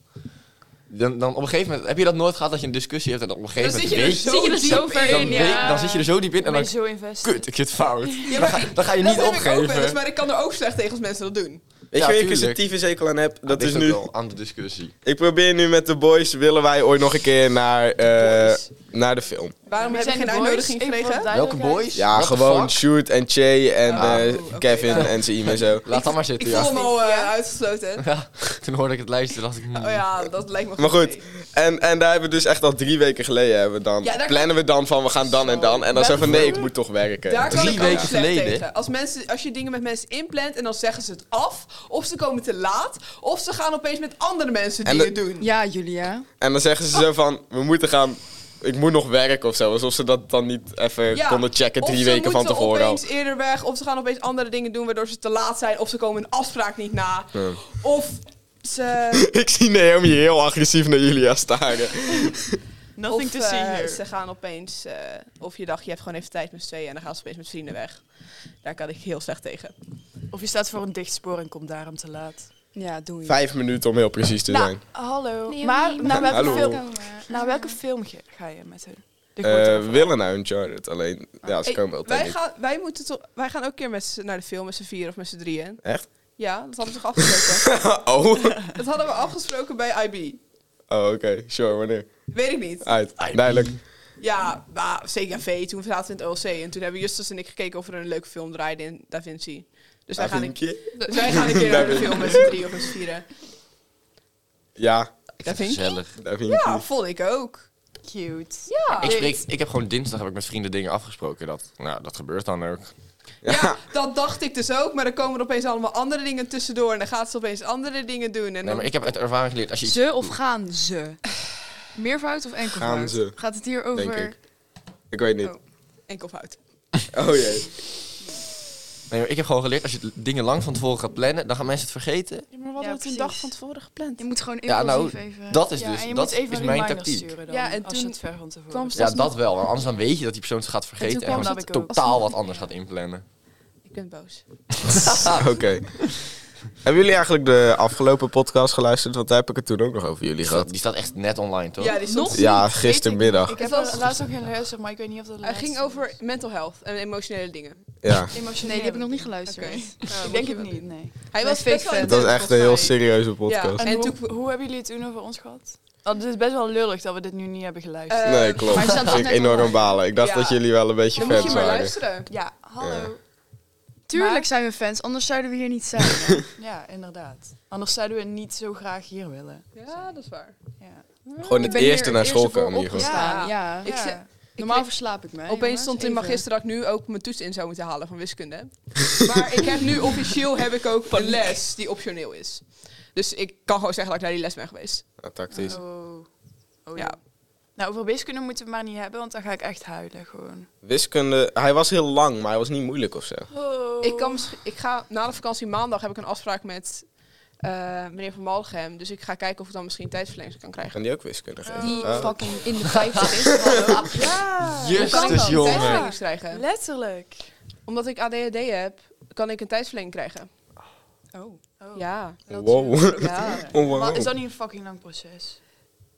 [SPEAKER 4] Dan, dan op een gegeven moment heb je dat nooit gehad dat je een discussie hebt en dan op een
[SPEAKER 1] Dan
[SPEAKER 4] gegeven
[SPEAKER 1] zit
[SPEAKER 4] moment
[SPEAKER 1] je er
[SPEAKER 4] weet
[SPEAKER 1] zo,
[SPEAKER 5] Zit je er zo
[SPEAKER 1] diep
[SPEAKER 5] ver
[SPEAKER 1] in.
[SPEAKER 4] dan,
[SPEAKER 5] in, ja.
[SPEAKER 4] weet- dan zit je er zo diep in en
[SPEAKER 3] Ben je
[SPEAKER 4] dan
[SPEAKER 3] zo invest.
[SPEAKER 4] kut, ik zit fout.
[SPEAKER 1] Ja,
[SPEAKER 4] dan,
[SPEAKER 1] maar
[SPEAKER 4] ga,
[SPEAKER 1] ik-
[SPEAKER 4] dan ga je
[SPEAKER 1] dat
[SPEAKER 4] niet
[SPEAKER 1] heb ik ook wel eens,
[SPEAKER 4] opgeven.
[SPEAKER 1] maar ik kan er ook slecht tegen als mensen dat doen.
[SPEAKER 2] Weet
[SPEAKER 4] Ja,
[SPEAKER 2] je waar ik een
[SPEAKER 4] tuurlijk.
[SPEAKER 2] fictieve zekel aan heb? Dat
[SPEAKER 4] Dit
[SPEAKER 2] is
[SPEAKER 4] ook
[SPEAKER 2] nu.
[SPEAKER 4] wel aan de discussie.
[SPEAKER 2] Ik probeer nu met de boys, willen wij ooit nog een keer naar, eh,
[SPEAKER 1] Boys.
[SPEAKER 2] naar de film?
[SPEAKER 1] Waarom heb ik geen uitnodiging gekregen?
[SPEAKER 4] Welke boys?
[SPEAKER 2] Ja,
[SPEAKER 4] What the
[SPEAKER 2] gewoon
[SPEAKER 4] fuck?
[SPEAKER 2] Shoot en Che en
[SPEAKER 1] Ah,
[SPEAKER 2] eh,
[SPEAKER 1] oeh, oké.
[SPEAKER 2] Kevin
[SPEAKER 1] Ja.
[SPEAKER 2] en Siem en zo.
[SPEAKER 4] Laat dat maar zitten,
[SPEAKER 1] Ik
[SPEAKER 4] ja.
[SPEAKER 1] voel me al eh, uitgesloten.
[SPEAKER 4] Ja, Toen hoorde ik het lijstje, toen dacht ik... hmm.
[SPEAKER 1] Oh ja, dat lijkt me
[SPEAKER 2] Maar goed,
[SPEAKER 1] idee.
[SPEAKER 2] en, en daar hebben we dus echt al drie weken geleden hebben we dan.
[SPEAKER 1] Ja, daar-
[SPEAKER 2] plannen we dan van we gaan dan en dan. En dan
[SPEAKER 1] Zo.
[SPEAKER 2] zeggen we nee, ik moet toch werken.
[SPEAKER 1] Daar kan
[SPEAKER 4] Drie
[SPEAKER 1] ik ook
[SPEAKER 4] weken
[SPEAKER 1] slecht
[SPEAKER 4] geleden.
[SPEAKER 1] tegen. Als, mensen, als je dingen met mensen inplant en dan zeggen ze het af. Of ze komen te laat. Of ze gaan opeens met andere mensen
[SPEAKER 2] En
[SPEAKER 1] dingen
[SPEAKER 2] de-
[SPEAKER 1] doen.
[SPEAKER 5] Ja, Julia.
[SPEAKER 2] En dan zeggen ze
[SPEAKER 1] Oh.
[SPEAKER 2] zo van, we moeten gaan, ik moet nog werken of zo. Alsof ze dat dan niet even
[SPEAKER 1] Ja,
[SPEAKER 2] konden checken
[SPEAKER 1] of
[SPEAKER 2] drie
[SPEAKER 1] ze
[SPEAKER 2] weken van
[SPEAKER 1] moeten
[SPEAKER 2] tevoren al.
[SPEAKER 1] opeens eerder weg. Of ze gaan opeens andere dingen doen waardoor ze te laat zijn. Of ze komen een afspraak niet na.
[SPEAKER 2] Ja.
[SPEAKER 1] Of ze...
[SPEAKER 2] Ik zie Naomi heel agressief naar Julia staren.
[SPEAKER 3] Nothing
[SPEAKER 1] of,
[SPEAKER 3] to see
[SPEAKER 1] eh,
[SPEAKER 3] here.
[SPEAKER 1] ze gaan opeens... eh, of je dacht, je hebt gewoon even tijd met z'n tweeën. En dan gaan ze opeens met vrienden weg. Daar kan ik heel slecht tegen.
[SPEAKER 3] Of je staat voor een dichtspoor en komt daarom te laat.
[SPEAKER 5] Ja, doe je.
[SPEAKER 2] Vijf minuten om heel precies te
[SPEAKER 3] Nou,
[SPEAKER 2] zijn.
[SPEAKER 3] hallo.
[SPEAKER 5] Nee,
[SPEAKER 3] maar
[SPEAKER 5] nee,
[SPEAKER 3] naar welke,
[SPEAKER 2] Hallo.
[SPEAKER 3] Film,
[SPEAKER 5] Oh,
[SPEAKER 3] naar welke film ge- ga je met hun? De
[SPEAKER 2] Eh,
[SPEAKER 3] grote
[SPEAKER 2] we
[SPEAKER 3] film.
[SPEAKER 2] willen naar Uncharted, alleen ja, ze
[SPEAKER 1] Hey,
[SPEAKER 2] komen wel
[SPEAKER 1] wij,
[SPEAKER 2] tegen.
[SPEAKER 1] gaan, wij, moeten toch, wij gaan ook een keer met z'n- naar de film met z'n vier of met z'n drieën.
[SPEAKER 2] Echt?
[SPEAKER 1] Ja, dat hadden we toch afgesproken?
[SPEAKER 2] Oh,
[SPEAKER 1] dat hadden we afgesproken bij IB.
[SPEAKER 2] oh oké, sure, wanneer?
[SPEAKER 1] Weet ik niet.
[SPEAKER 2] Uit, duidelijk.
[SPEAKER 1] Ja, maar CKV, toen zaten we in het OLC. En toen hebben Justus en ik gekeken of er een leuke film draaide in Da Vinci. Dus wij, gaan een,
[SPEAKER 2] Avinkje?
[SPEAKER 1] dus wij gaan een keer naar de film met z'n drieën of met z'n vieren.
[SPEAKER 2] Ja,
[SPEAKER 1] Da Vinci?
[SPEAKER 4] Gezellig.
[SPEAKER 2] daar vind
[SPEAKER 1] Ja, vond ik ook.
[SPEAKER 3] Cute.
[SPEAKER 1] Ja.
[SPEAKER 4] Ik, spreek, ik heb gewoon dinsdag heb ik met vrienden dingen afgesproken. Dat, nou, dat gebeurt dan ook.
[SPEAKER 1] Ja. dat dacht ik dus ook. Maar dan komen er opeens allemaal andere dingen tussendoor. En dan gaat ze opeens andere dingen doen. En
[SPEAKER 4] Nee,
[SPEAKER 1] dan...
[SPEAKER 4] maar ik heb uit ervaring geleerd. Als je iets...
[SPEAKER 5] Ze of gaan ze? Meervoud of enkelvoud?
[SPEAKER 2] Gaan ze,
[SPEAKER 5] Gaat het hier over...
[SPEAKER 2] denk ik. Ik weet niet.
[SPEAKER 1] Enkelvoud.
[SPEAKER 2] Oh jee.
[SPEAKER 4] Nee, maar ik heb gewoon geleerd, als je l- dingen lang van tevoren gaat plannen, dan gaan mensen het vergeten.
[SPEAKER 1] Ja, maar we
[SPEAKER 3] hadden het een dag van
[SPEAKER 1] tevoren gepland.
[SPEAKER 5] Je moet gewoon
[SPEAKER 4] Ja, nou,
[SPEAKER 5] impulsief even...
[SPEAKER 4] Dat is
[SPEAKER 3] Ja, en
[SPEAKER 4] dus,
[SPEAKER 3] je
[SPEAKER 4] dat
[SPEAKER 3] moet even
[SPEAKER 4] is
[SPEAKER 3] een
[SPEAKER 4] mijn
[SPEAKER 3] reminder
[SPEAKER 4] tactiek.
[SPEAKER 3] sturen dan,
[SPEAKER 1] Ja, en
[SPEAKER 3] als je
[SPEAKER 1] toen
[SPEAKER 3] het ver van tevoren
[SPEAKER 1] kwam
[SPEAKER 3] doet.
[SPEAKER 1] ze-
[SPEAKER 4] Ja, dat wel. Maar anders dan weet je dat die persoon het gaat
[SPEAKER 1] En
[SPEAKER 4] vergeten
[SPEAKER 1] toen
[SPEAKER 4] en,
[SPEAKER 1] kwam
[SPEAKER 4] dan
[SPEAKER 3] dat ook.
[SPEAKER 4] totaal wat anders gaat inplannen.
[SPEAKER 1] Ik ben boos.
[SPEAKER 2] Oké. Hebben jullie eigenlijk de afgelopen podcast geluisterd? Want daar heb ik het toen ook nog over jullie
[SPEAKER 4] Die staat,
[SPEAKER 2] gehad.
[SPEAKER 4] Dus die staat echt net online, toch?
[SPEAKER 1] Ja, die stond...
[SPEAKER 3] Nog?
[SPEAKER 2] Ja,
[SPEAKER 3] Weet
[SPEAKER 2] gistermiddag.
[SPEAKER 3] Ik heb
[SPEAKER 1] Het was-
[SPEAKER 3] er laatst ook heel luisterd, maar ik weet niet of dat de
[SPEAKER 1] Hij
[SPEAKER 3] laatste
[SPEAKER 1] Eh, ging over mental health en emotionele dingen.
[SPEAKER 2] Ja.
[SPEAKER 3] was. Emotioneel.
[SPEAKER 5] Nee, die heb ik nog niet geluisterd.
[SPEAKER 1] Oké.
[SPEAKER 3] Ik denk het niet, nee.
[SPEAKER 1] Hij
[SPEAKER 5] Met
[SPEAKER 1] was best wel
[SPEAKER 5] fake
[SPEAKER 2] Het was
[SPEAKER 1] intens,
[SPEAKER 2] echt een heel
[SPEAKER 1] volgens mij.
[SPEAKER 2] serieuze podcast.
[SPEAKER 3] En,
[SPEAKER 1] En
[SPEAKER 3] hoe,
[SPEAKER 1] toen-
[SPEAKER 3] hoe hebben jullie het toen over ons gehad? Want het is best wel lullig dat we dit nu niet hebben geluisterd.
[SPEAKER 1] Eh,
[SPEAKER 2] Nee,
[SPEAKER 5] maar
[SPEAKER 2] klopt.
[SPEAKER 5] hij staat
[SPEAKER 2] Dat
[SPEAKER 5] wel
[SPEAKER 2] ging
[SPEAKER 5] net
[SPEAKER 2] enorm
[SPEAKER 5] online.
[SPEAKER 2] balen. Ik dacht
[SPEAKER 1] Ja.
[SPEAKER 2] dat jullie wel een beetje
[SPEAKER 1] Dan moet
[SPEAKER 2] fans
[SPEAKER 1] je maar
[SPEAKER 2] waren.
[SPEAKER 1] luisteren.
[SPEAKER 3] ja, hallo.
[SPEAKER 5] Tuurlijk
[SPEAKER 3] Maar-
[SPEAKER 5] zijn we fans, anders zouden we hier niet zijn.
[SPEAKER 3] Ja, inderdaad. Anders zouden we niet zo graag hier willen.
[SPEAKER 1] Ja, dat is waar.
[SPEAKER 3] Ja.
[SPEAKER 2] Gewoon het
[SPEAKER 5] Ik ben hier
[SPEAKER 2] eerste naar school
[SPEAKER 5] eerste voor
[SPEAKER 2] komen hier gewoon.
[SPEAKER 5] opgestaan, Ja.
[SPEAKER 1] Ik
[SPEAKER 3] Ja.
[SPEAKER 1] zeg-
[SPEAKER 5] Normaal verslaap ik me. hè,
[SPEAKER 1] Opeens
[SPEAKER 5] jongens.
[SPEAKER 1] stond in
[SPEAKER 5] Even.
[SPEAKER 1] magister dat ik nu ook mijn toets in zou moeten halen van wiskunde. maar ik heb nu officieel heb ik ook een les die optioneel is. Dus ik kan gewoon zeggen dat ik naar die les ben geweest.
[SPEAKER 2] Ja, tactisch.
[SPEAKER 3] Oh. Oh,
[SPEAKER 1] Ja.
[SPEAKER 3] ja. Nou, over wiskunde moeten we het maar niet hebben, want dan ga ik echt huilen gewoon.
[SPEAKER 2] Wiskunde, hij was heel lang, maar hij was niet moeilijk of zo.
[SPEAKER 1] Ik, kan misschien- ik ga na de vakantie maandag heb ik een afspraak met eh, meneer Van Malgem. Dus ik ga kijken of ik dan misschien tijdverlenging kan krijgen.
[SPEAKER 2] Gaan die ook wiskunde geven?
[SPEAKER 5] Die
[SPEAKER 2] Oh.
[SPEAKER 5] fucking in de 50 is. hallo.
[SPEAKER 3] Ja,
[SPEAKER 1] kan dus, ik
[SPEAKER 4] Justus,
[SPEAKER 1] dan
[SPEAKER 4] jongen.
[SPEAKER 1] tijdverlenging krijgen?
[SPEAKER 3] letterlijk.
[SPEAKER 1] Omdat ik ADHD heb, kan ik een tijdverlenging krijgen.
[SPEAKER 5] Oh.
[SPEAKER 3] Oh.
[SPEAKER 1] Ja,
[SPEAKER 3] Dat
[SPEAKER 2] Wow.
[SPEAKER 3] is-
[SPEAKER 1] ja.
[SPEAKER 2] Oh, wow.
[SPEAKER 3] Maar is dat niet een fucking lang proces?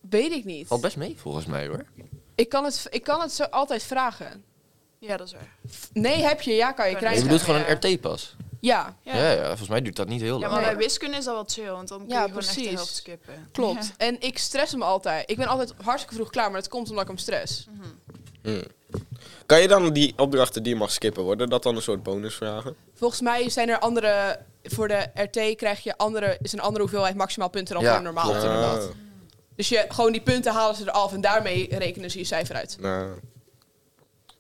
[SPEAKER 1] Weet ik niet.
[SPEAKER 4] Valt best mee, volgens mij, hoor.
[SPEAKER 1] Ik kan het, ik kan het zo altijd vragen.
[SPEAKER 3] Ja, dat is waar.
[SPEAKER 1] Nee, heb je, ja kan je
[SPEAKER 3] Je
[SPEAKER 4] Je
[SPEAKER 1] krijgen.
[SPEAKER 4] bedoelt gewoon een
[SPEAKER 3] Ja.
[SPEAKER 4] RT-pas.
[SPEAKER 1] Ja,
[SPEAKER 4] Ja. Ja, volgens mij duurt dat niet
[SPEAKER 3] Ja,
[SPEAKER 4] heel lang.
[SPEAKER 3] maar bij
[SPEAKER 1] Nee.
[SPEAKER 3] wiskunde is dat wel chill, want dan kun je
[SPEAKER 1] Ja,
[SPEAKER 3] gewoon echt
[SPEAKER 1] precies.
[SPEAKER 3] de helft skippen.
[SPEAKER 1] klopt.
[SPEAKER 3] Ja.
[SPEAKER 1] En ik stress hem altijd. Ik ben altijd hartstikke vroeg klaar, maar dat komt omdat ik hem stress.
[SPEAKER 3] Mhm.
[SPEAKER 2] Kan je dan die opdrachten die je mag skippen, worden dat dan een soort bonusvragen?
[SPEAKER 1] Volgens mij zijn er andere... Voor de RT krijg je andere, is een andere hoeveelheid maximaal punten dan
[SPEAKER 4] Ja,
[SPEAKER 1] voor een normaal.
[SPEAKER 4] klopt. inderdaad.
[SPEAKER 2] Ah,
[SPEAKER 1] Dus je, gewoon die punten halen ze eraf en daarmee rekenen ze je cijfer uit.
[SPEAKER 2] nou,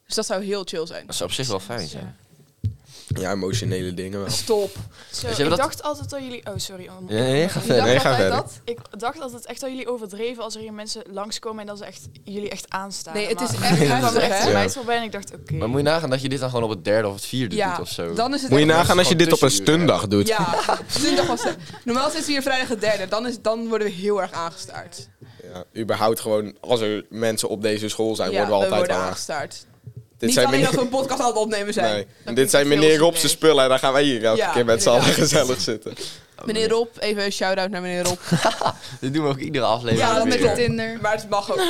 [SPEAKER 1] Dus dat zou heel chill zijn.
[SPEAKER 4] Dat zou op zich wel fijn zijn.
[SPEAKER 2] ja, emotionele dingen wel.
[SPEAKER 1] Stop.
[SPEAKER 3] Zo,
[SPEAKER 4] Dus
[SPEAKER 3] ik
[SPEAKER 4] hebben dat-
[SPEAKER 3] dacht altijd dat jullie... Oh, sorry. om-
[SPEAKER 4] Ja, nee, ga
[SPEAKER 3] Ik
[SPEAKER 4] verder.
[SPEAKER 3] dacht
[SPEAKER 2] Nee, ga
[SPEAKER 3] altijd
[SPEAKER 2] verder.
[SPEAKER 3] dat- Ik dacht altijd echt dat jullie overdreven als er hier mensen langskomen en dat ze echt, jullie echt aanstaan.
[SPEAKER 1] Nee, het is
[SPEAKER 3] Maar-
[SPEAKER 1] echt
[SPEAKER 3] Ik kwam er
[SPEAKER 1] heftig,
[SPEAKER 3] echt
[SPEAKER 1] hè?
[SPEAKER 3] een meisje voorbij en ik dacht, oké.
[SPEAKER 4] Maar moet je nagaan dat je dit dan gewoon op het derde of het vierde
[SPEAKER 1] Ja,
[SPEAKER 4] doet of zo.
[SPEAKER 1] dan is het
[SPEAKER 2] Moet je
[SPEAKER 1] echt-
[SPEAKER 2] nagaan als je dit op een
[SPEAKER 4] tussenuur, hè?
[SPEAKER 2] stundag doet.
[SPEAKER 1] Ja, zondag was het. Normaal zitten we hier vrijdag het derde. Dan, is, dan worden we heel erg aangestaard.
[SPEAKER 2] Ja, überhaupt gewoon, als er mensen op deze school zijn,
[SPEAKER 1] ja,
[SPEAKER 2] worden we altijd
[SPEAKER 1] worden
[SPEAKER 2] aan.
[SPEAKER 1] aangestaard.
[SPEAKER 2] Dit
[SPEAKER 1] Niet
[SPEAKER 2] zijn
[SPEAKER 1] alleen dat
[SPEAKER 2] meneer,
[SPEAKER 1] we een podcast aan het opnemen zijn.
[SPEAKER 2] nee.
[SPEAKER 3] Dan
[SPEAKER 2] dit
[SPEAKER 3] klinkt
[SPEAKER 2] zijn
[SPEAKER 3] het
[SPEAKER 2] meneer
[SPEAKER 3] heel
[SPEAKER 2] Rob zijn
[SPEAKER 3] leuk.
[SPEAKER 2] spullen en dan gaan wij hier elke
[SPEAKER 1] dus Ja,
[SPEAKER 2] keer met z'n allen
[SPEAKER 1] inderdaad.
[SPEAKER 2] gezellig zitten.
[SPEAKER 1] Meneer Rob, even een shout-out naar meneer Rob.
[SPEAKER 4] Dit doen we ook iedere aflevering.
[SPEAKER 1] Ja, dat
[SPEAKER 4] weer.
[SPEAKER 1] klopt.
[SPEAKER 5] Met Tinder.
[SPEAKER 1] Maar het mag ook.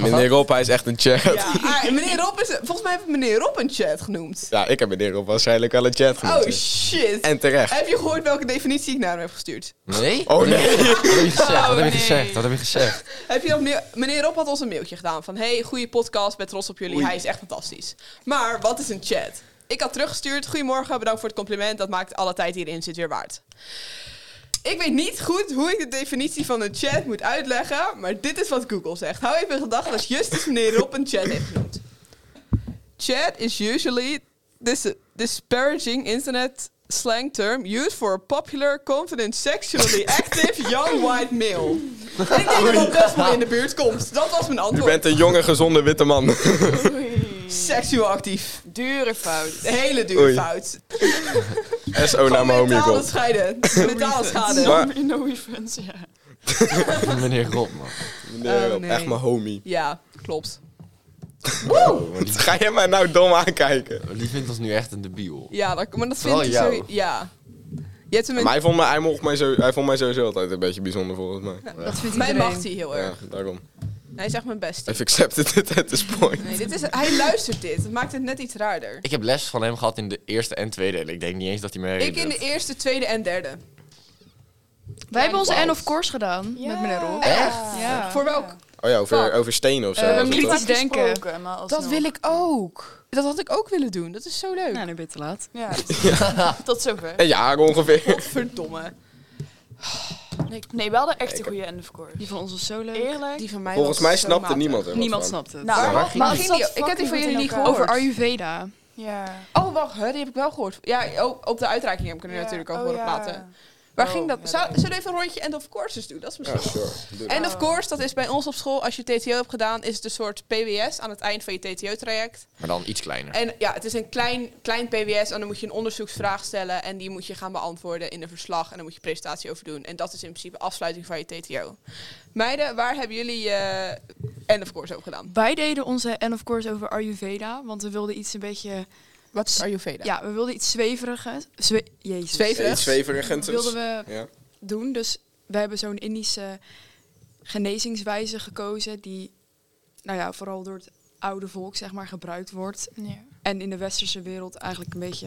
[SPEAKER 2] Meneer Rob, hij is echt een chat.
[SPEAKER 1] Ja, ah, meneer Rob is... Volgens mij heb ik meneer Rob een chat genoemd.
[SPEAKER 2] Ja, ik heb meneer Rob waarschijnlijk wel een chat genoemd.
[SPEAKER 1] Oh, shit.
[SPEAKER 2] en terecht.
[SPEAKER 1] Heb je gehoord welke definitie ik naar hem heb gestuurd?
[SPEAKER 4] Nee?
[SPEAKER 2] Oh nee.
[SPEAKER 4] Wat heb je gezegd? Wat heb je
[SPEAKER 3] nee.
[SPEAKER 4] gezegd? Wat heb je gezegd?
[SPEAKER 1] Heb je nog meneer, meneer Rob had ons een mailtje gedaan van... Hey, goede podcast, ben trots op jullie. Hij is echt fantastisch. Maar wat is een chat? Ik had teruggestuurd. Goedemorgen, bedankt voor het compliment. Dat maakt alle tijd die hierin zit weer waard. Ik weet niet goed hoe ik de definitie van een chat moet uitleggen, maar dit is wat Google zegt. Hou even in gedachten dat Justus meneer Rob een chat heeft genoemd. Chat is usually this disparaging internet slang term used for a popular, confident, sexually active young white male. En ik denk dat dat best wel in de buurt komt. Dat was mijn
[SPEAKER 2] Je
[SPEAKER 1] antwoord.
[SPEAKER 2] bent een jonge, gezonde witte man.
[SPEAKER 1] Seksueel actief.
[SPEAKER 3] Dure fout.
[SPEAKER 1] Hele dure
[SPEAKER 2] Oei.
[SPEAKER 1] fout.
[SPEAKER 2] SO naar mijn
[SPEAKER 1] Gewoon
[SPEAKER 2] homie
[SPEAKER 1] mentale
[SPEAKER 2] Rob.
[SPEAKER 1] scheiden. Mentale schade.
[SPEAKER 2] Maar-
[SPEAKER 3] No, no offense, ja.
[SPEAKER 4] Meneer Rob, man.
[SPEAKER 2] Meneer
[SPEAKER 1] Oh,
[SPEAKER 2] Rob,
[SPEAKER 1] nee.
[SPEAKER 2] echt mijn homie.
[SPEAKER 1] Ja, klopt.
[SPEAKER 2] Ga jij mij nou dom aankijken?
[SPEAKER 4] Die vindt ons nu echt een debiel.
[SPEAKER 1] Ja, dat, maar dat vind
[SPEAKER 4] Vooral
[SPEAKER 1] ik
[SPEAKER 4] jou.
[SPEAKER 1] zo... Ja. Je hebt hem in-
[SPEAKER 2] Maar hij vond, mij, hij, mocht mij zo, hij vond mij sowieso altijd een beetje bijzonder volgens mij.
[SPEAKER 5] Dat vindt
[SPEAKER 1] Mij
[SPEAKER 5] iedereen.
[SPEAKER 1] mag hij heel
[SPEAKER 2] Ja,
[SPEAKER 1] erg.
[SPEAKER 2] daarom.
[SPEAKER 1] Hij is echt mijn beste.
[SPEAKER 2] I've accepted it at this point.
[SPEAKER 1] Nee, dit is, hij luistert dit. Dat maakt het net iets raarder.
[SPEAKER 4] Ik heb les van hem gehad in de eerste en tweede. En ik denk niet eens dat hij me
[SPEAKER 1] Ik
[SPEAKER 4] herinnert.
[SPEAKER 1] in de eerste, tweede en derde.
[SPEAKER 5] Wij hebben onze end of course gedaan met meneer Rob.
[SPEAKER 1] Echt?
[SPEAKER 5] Ja.
[SPEAKER 1] Voor welk?
[SPEAKER 2] Oh ja, over, over stenen of zo.
[SPEAKER 5] Eh,
[SPEAKER 2] was het, hè?
[SPEAKER 5] kritisch denken.
[SPEAKER 1] Dat wil ik ook. Dat had ik ook willen doen. Dat is zo leuk.
[SPEAKER 5] Nou, nu ben je te laat.
[SPEAKER 3] Ja, tot zover.
[SPEAKER 2] Een jaar Eh, ongeveer.
[SPEAKER 1] Verdomme.
[SPEAKER 3] Nee, wel de echte goede end of course.
[SPEAKER 5] Die van ons was zo leuk.
[SPEAKER 3] Eerlijk.
[SPEAKER 1] Die van mij
[SPEAKER 2] Volgens
[SPEAKER 1] was
[SPEAKER 2] mij
[SPEAKER 1] zo
[SPEAKER 2] snapte
[SPEAKER 1] matig.
[SPEAKER 2] niemand er wat
[SPEAKER 5] Niemand
[SPEAKER 2] van.
[SPEAKER 5] snapt het.
[SPEAKER 3] Nou,
[SPEAKER 4] waar
[SPEAKER 3] maar
[SPEAKER 4] ging
[SPEAKER 3] het
[SPEAKER 1] die?
[SPEAKER 3] zat
[SPEAKER 1] Ik heb die van
[SPEAKER 3] fucking
[SPEAKER 1] jullie
[SPEAKER 3] goed
[SPEAKER 1] niet
[SPEAKER 3] in
[SPEAKER 1] gehoord.
[SPEAKER 3] elkaar.
[SPEAKER 5] Over Ayurveda.
[SPEAKER 3] Ja.
[SPEAKER 1] Oh, wacht, hè, die heb ik wel gehoord. Ja, oh, op de uitreiking heb ik er natuurlijk over
[SPEAKER 3] Oh,
[SPEAKER 1] horen
[SPEAKER 3] ja.
[SPEAKER 1] praten. Waar
[SPEAKER 3] Oh,
[SPEAKER 1] ging dat?
[SPEAKER 3] ja,
[SPEAKER 1] Zou,
[SPEAKER 3] dat-
[SPEAKER 1] zullen we even een rondje end of courses doen? Dat is
[SPEAKER 2] Ja,
[SPEAKER 1] misschien
[SPEAKER 2] sure. Doe dat.
[SPEAKER 1] En of course, dat is bij ons op school, als je TTO hebt gedaan, is het een soort PWS aan het eind van je TTO-traject.
[SPEAKER 4] Maar dan iets kleiner.
[SPEAKER 1] En ja, het is een klein, klein PWS en dan moet je een onderzoeksvraag stellen en die moet je gaan beantwoorden in een verslag en dan moet je presentatie over doen. En dat is in principe afsluiting van je TTO. Meiden, waar hebben jullie eh, end of course over gedaan?
[SPEAKER 5] Wij deden onze end of course over Ayurveda, want we wilden iets een beetje...
[SPEAKER 1] Wat is Ayurveda?
[SPEAKER 5] Ja, we wilden iets zweverigs. Zwe Jezus.
[SPEAKER 1] Zweverig?
[SPEAKER 2] Iets zweverigends.
[SPEAKER 5] wilden we
[SPEAKER 2] Ja.
[SPEAKER 5] doen. Dus we hebben zo'n Indische genezingswijze gekozen die, nou ja, vooral door het oude volk, zeg maar, gebruikt wordt.
[SPEAKER 3] Ja.
[SPEAKER 5] En in de westerse wereld eigenlijk een beetje,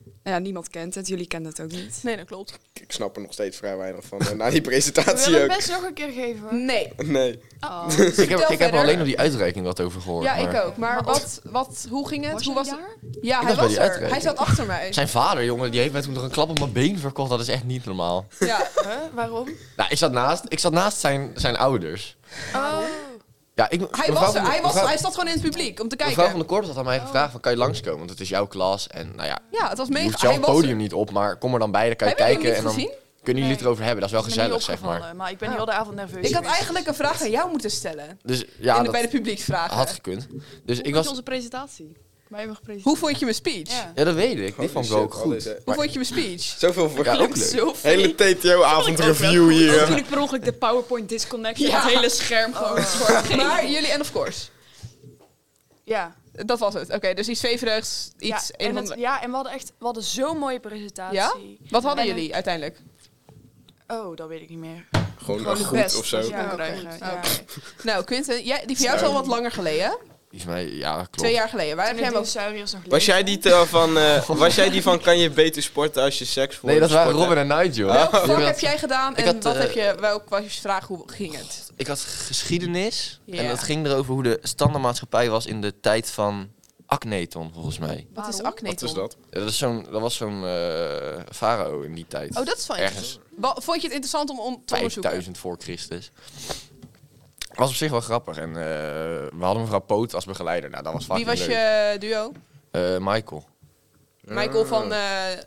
[SPEAKER 5] nou ja, niemand kent het. Jullie kennen het ook niet.
[SPEAKER 1] Nee, dat klopt.
[SPEAKER 2] Ik snap er nog steeds vrij weinig van. eh, Na die
[SPEAKER 3] We willen
[SPEAKER 2] presentatie
[SPEAKER 3] het
[SPEAKER 2] ook.
[SPEAKER 3] best nog een keer geven hoor.
[SPEAKER 1] Nee.
[SPEAKER 2] Nee.
[SPEAKER 4] ik heb, ik heb
[SPEAKER 1] verder.
[SPEAKER 4] er alleen nog die uitreiking wat over gehoord.
[SPEAKER 1] Ja,
[SPEAKER 4] maar-
[SPEAKER 1] ik ook. Maar
[SPEAKER 3] Maar
[SPEAKER 1] wat, wat, hoe ging het?
[SPEAKER 5] Was
[SPEAKER 1] hoe
[SPEAKER 5] jij
[SPEAKER 1] was het?
[SPEAKER 5] daar?
[SPEAKER 1] Ja, hij
[SPEAKER 4] Ik was bij
[SPEAKER 1] was
[SPEAKER 4] die
[SPEAKER 1] er. Hij
[SPEAKER 4] uitreiking.
[SPEAKER 1] zat achter mij.
[SPEAKER 4] Zijn vader, jongen, die heeft mij toen nog een klap op mijn been verkocht. Dat is echt niet normaal.
[SPEAKER 1] Ja.
[SPEAKER 3] Huh?
[SPEAKER 1] Oh.
[SPEAKER 3] Waarom?
[SPEAKER 4] Nou, ik zat naast, ik zat naast zijn, zijn ouders.
[SPEAKER 3] Oh.
[SPEAKER 4] Ja, ik,
[SPEAKER 1] Hij,
[SPEAKER 4] mevrouw
[SPEAKER 1] was
[SPEAKER 4] van
[SPEAKER 1] er,
[SPEAKER 4] de-
[SPEAKER 1] hij, was,
[SPEAKER 4] mevrouw-
[SPEAKER 1] hij zat gewoon in het publiek om te
[SPEAKER 4] Mevrouw van
[SPEAKER 1] kijken. Oh.
[SPEAKER 4] de Korps had aan mij gevraagd van, kan je langskomen? Want het is jouw klas en nou ja,
[SPEAKER 1] Ja, het was
[SPEAKER 4] je hoeft
[SPEAKER 1] mega.
[SPEAKER 4] jouw
[SPEAKER 1] Hij was er.
[SPEAKER 4] podium niet op, maar kom er dan bij, dan kan je
[SPEAKER 1] Hebben jullie
[SPEAKER 4] kijken
[SPEAKER 1] hem
[SPEAKER 4] en
[SPEAKER 1] niet
[SPEAKER 4] dan
[SPEAKER 1] gezien?
[SPEAKER 4] kunnen jullie het
[SPEAKER 3] Nee.
[SPEAKER 4] erover hebben. Dat is wel
[SPEAKER 3] Is me niet
[SPEAKER 4] gezellig, zeg maar.
[SPEAKER 3] opgevallen, Maar ik ben
[SPEAKER 1] Ja.
[SPEAKER 3] heel de avond nerveus.
[SPEAKER 1] Oh. Ik had
[SPEAKER 3] geweest.
[SPEAKER 1] eigenlijk een vraag aan jou moeten stellen.
[SPEAKER 4] Dus ja,
[SPEAKER 1] in de,
[SPEAKER 4] dat
[SPEAKER 1] bij de publieksvragen.
[SPEAKER 4] had gekund. Dus ik
[SPEAKER 5] Ik
[SPEAKER 4] was,
[SPEAKER 5] onze presentatie. Wij hebben gepresenteerd.
[SPEAKER 1] Hoe vond je mijn speech?
[SPEAKER 3] Ja.
[SPEAKER 4] ja dat weet ik, die
[SPEAKER 2] Holy
[SPEAKER 4] vond ik
[SPEAKER 2] shit,
[SPEAKER 4] ook
[SPEAKER 2] al
[SPEAKER 4] goed.
[SPEAKER 2] deze-
[SPEAKER 1] Hoe vond je mijn speech?
[SPEAKER 2] Zoveel voor
[SPEAKER 4] Ja, ook leuk.
[SPEAKER 1] Zo fake.
[SPEAKER 2] Hele TTO-avondreview
[SPEAKER 5] Of
[SPEAKER 2] hier.
[SPEAKER 5] ik per ongeluk de PowerPoint disconnecten
[SPEAKER 1] Ja. Oh.
[SPEAKER 5] hele scherm gewoon.
[SPEAKER 1] Maar jullie en of course.
[SPEAKER 3] Ja.
[SPEAKER 1] Dat was het. Oké, dus iets zweverigs, iets... een
[SPEAKER 3] ja. En
[SPEAKER 1] van
[SPEAKER 3] het-
[SPEAKER 1] de-
[SPEAKER 3] ja, en we hadden echt we hadden zo'n mooie presentatie.
[SPEAKER 1] Wat hadden
[SPEAKER 3] En het-
[SPEAKER 1] jullie uiteindelijk?
[SPEAKER 3] Oh, dat weet ik niet meer.
[SPEAKER 2] Gewoon
[SPEAKER 1] Gewoon
[SPEAKER 2] een
[SPEAKER 1] het
[SPEAKER 2] goed
[SPEAKER 1] best.
[SPEAKER 2] of zo.
[SPEAKER 1] Ja.
[SPEAKER 3] dus Ja,
[SPEAKER 1] kan
[SPEAKER 3] goed,
[SPEAKER 1] krijgen,
[SPEAKER 3] ja.
[SPEAKER 1] Nou, Quinten, jij, die voor jou is al wat langer geleden. hè?
[SPEAKER 4] Die is mij, ja, klopt.
[SPEAKER 1] Twee jaar geleden. Waar heb
[SPEAKER 3] Toen dus-
[SPEAKER 1] jij hem
[SPEAKER 3] de
[SPEAKER 1] ook...
[SPEAKER 3] dinosauriërs nog
[SPEAKER 2] Was jij
[SPEAKER 3] leefden.
[SPEAKER 2] die tel van, eh, was jij die van kan je beter sporten als je seks voor
[SPEAKER 4] Nee, dat
[SPEAKER 2] je
[SPEAKER 4] waren
[SPEAKER 2] sport
[SPEAKER 4] Robin
[SPEAKER 2] hebt?
[SPEAKER 4] en Nigel.
[SPEAKER 1] Welk
[SPEAKER 4] Die
[SPEAKER 1] vak
[SPEAKER 4] had-
[SPEAKER 1] heb jij gedaan
[SPEAKER 4] ik
[SPEAKER 1] en
[SPEAKER 4] had,
[SPEAKER 1] wat
[SPEAKER 4] eh,
[SPEAKER 1] heb je, welk was je vraag, hoe ging het?
[SPEAKER 4] Ik had geschiedenis
[SPEAKER 1] Ja.
[SPEAKER 4] en dat ging erover hoe de standaardmaatschappij was in de tijd van Akhenaton, volgens mij.
[SPEAKER 1] Wat is
[SPEAKER 3] Waarom?
[SPEAKER 1] acne?
[SPEAKER 2] Wat is
[SPEAKER 1] Tom?
[SPEAKER 2] dat?
[SPEAKER 4] Ja, Dat, is zo'n, dat was zo'n eh, farao in die tijd.
[SPEAKER 1] Oh, dat is van
[SPEAKER 4] Ergens
[SPEAKER 1] Wa- Vond je het interessant om, om te onderzoeken?
[SPEAKER 4] 5000 voor Christus. Was op zich wel grappig. En eh, we hadden mevrouw Poot als begeleider. Nou, dat was vaak
[SPEAKER 1] Wie was
[SPEAKER 4] leuk.
[SPEAKER 1] je duo?
[SPEAKER 4] Eh, Michael.
[SPEAKER 1] Michael van... eh,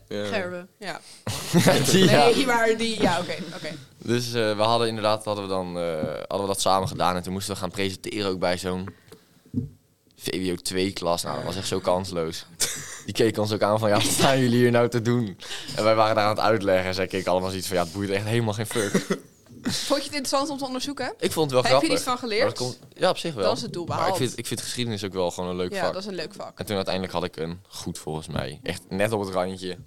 [SPEAKER 2] Ja.
[SPEAKER 5] Gerben.
[SPEAKER 1] ja.
[SPEAKER 4] Die, ja.
[SPEAKER 1] Nee, maar die... Ja, oké. oké.
[SPEAKER 4] Dus eh, we hadden inderdaad hadden we dan, eh, hadden we dat samen gedaan. En toen moesten we gaan presenteren ook bij zo'n VWO 2-klas. Nou, dat was echt zo kansloos. Die keken ons ook aan van, ja, wat staan jullie hier nou te doen? En wij waren daar aan het uitleggen. En zij keken allemaal zoiets van, ja, het boeit echt helemaal geen fuck.
[SPEAKER 1] Vond je het interessant om te onderzoeken?
[SPEAKER 4] Ik vond het wel
[SPEAKER 1] Heb
[SPEAKER 4] grappig.
[SPEAKER 1] je er iets van
[SPEAKER 4] Maar dat
[SPEAKER 1] geleerd?
[SPEAKER 4] komt- ja, op zich wel.
[SPEAKER 1] Dan is het doel
[SPEAKER 4] Maar ik
[SPEAKER 1] behaald.
[SPEAKER 4] vind, ik vind geschiedenis ook wel gewoon een leuk
[SPEAKER 1] ja,
[SPEAKER 4] vak.
[SPEAKER 1] dat is een leuk vak.
[SPEAKER 4] En toen uiteindelijk had ik een goed volgens mij. Echt net op het randje.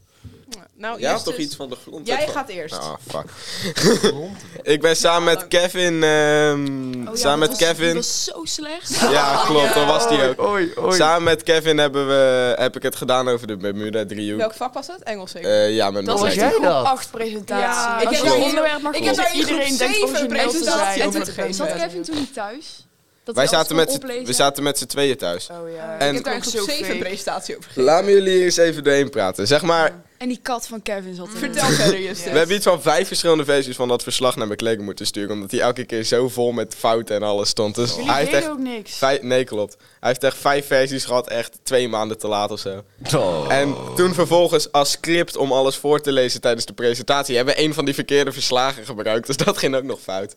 [SPEAKER 1] Nou,
[SPEAKER 2] Jij had
[SPEAKER 1] eerst
[SPEAKER 2] toch
[SPEAKER 1] dus-
[SPEAKER 2] iets van de grond?
[SPEAKER 1] Jij gaat eerst.
[SPEAKER 2] Ah, fuck. ik ben samen met Kevin, ehm, samen met Kevin.
[SPEAKER 5] Dat was zo slecht.
[SPEAKER 2] Ja, klopt, dat was die ook.
[SPEAKER 4] Oei,
[SPEAKER 2] Samen met Kevin hebben we, heb ik het gedaan over de Bermuda driehoek.
[SPEAKER 1] Welk vak was het? Engels zeker?
[SPEAKER 2] Eh, ja, met
[SPEAKER 4] Dat was
[SPEAKER 2] mijn-
[SPEAKER 4] jij dat?
[SPEAKER 3] Acht presentaties.
[SPEAKER 5] Ja,
[SPEAKER 3] Als
[SPEAKER 5] ik
[SPEAKER 3] je
[SPEAKER 5] heb
[SPEAKER 3] zo'n
[SPEAKER 1] daar-
[SPEAKER 3] onderwerp mag
[SPEAKER 1] ik heb
[SPEAKER 3] kiezen,
[SPEAKER 1] daar in groep
[SPEAKER 3] iedereen denkt
[SPEAKER 1] zeven
[SPEAKER 3] origineel te
[SPEAKER 1] presentaties
[SPEAKER 3] zijn.
[SPEAKER 5] En
[SPEAKER 1] over
[SPEAKER 5] toen zat
[SPEAKER 1] gegeven.
[SPEAKER 5] Kevin toen niet thuis. Dat
[SPEAKER 2] Wij
[SPEAKER 5] hij
[SPEAKER 2] zaten,
[SPEAKER 5] alles kon
[SPEAKER 2] met,
[SPEAKER 5] oplezen.
[SPEAKER 2] we zaten met z'n tweeën thuis.
[SPEAKER 3] Oh ja.
[SPEAKER 2] En-
[SPEAKER 1] ik heb daar
[SPEAKER 3] ook
[SPEAKER 1] eigenlijk
[SPEAKER 3] zo
[SPEAKER 1] zeven
[SPEAKER 3] fake.
[SPEAKER 1] presentatie over gegeven.
[SPEAKER 2] Laat me jullie eens even doorheen praten. Zeg maar,
[SPEAKER 5] En die kat van Kevin zat erin.
[SPEAKER 1] Mm. Vertel verder, Justin.
[SPEAKER 2] We hebben iets van vijf verschillende versies van dat verslag naar mijn collega moeten sturen. Omdat hij elke keer zo vol met fouten en alles stond. Dus
[SPEAKER 3] Jullie
[SPEAKER 2] hij heeft echt.
[SPEAKER 3] deden ook niks.
[SPEAKER 2] Vijf, nee, klopt. Hij heeft echt vijf versies gehad, echt twee maanden te laat of zo.
[SPEAKER 4] Oh.
[SPEAKER 2] En toen vervolgens als script om alles voor te lezen tijdens de presentatie... hebben we een van die verkeerde verslagen gebruikt. Dus dat ging ook nog fout.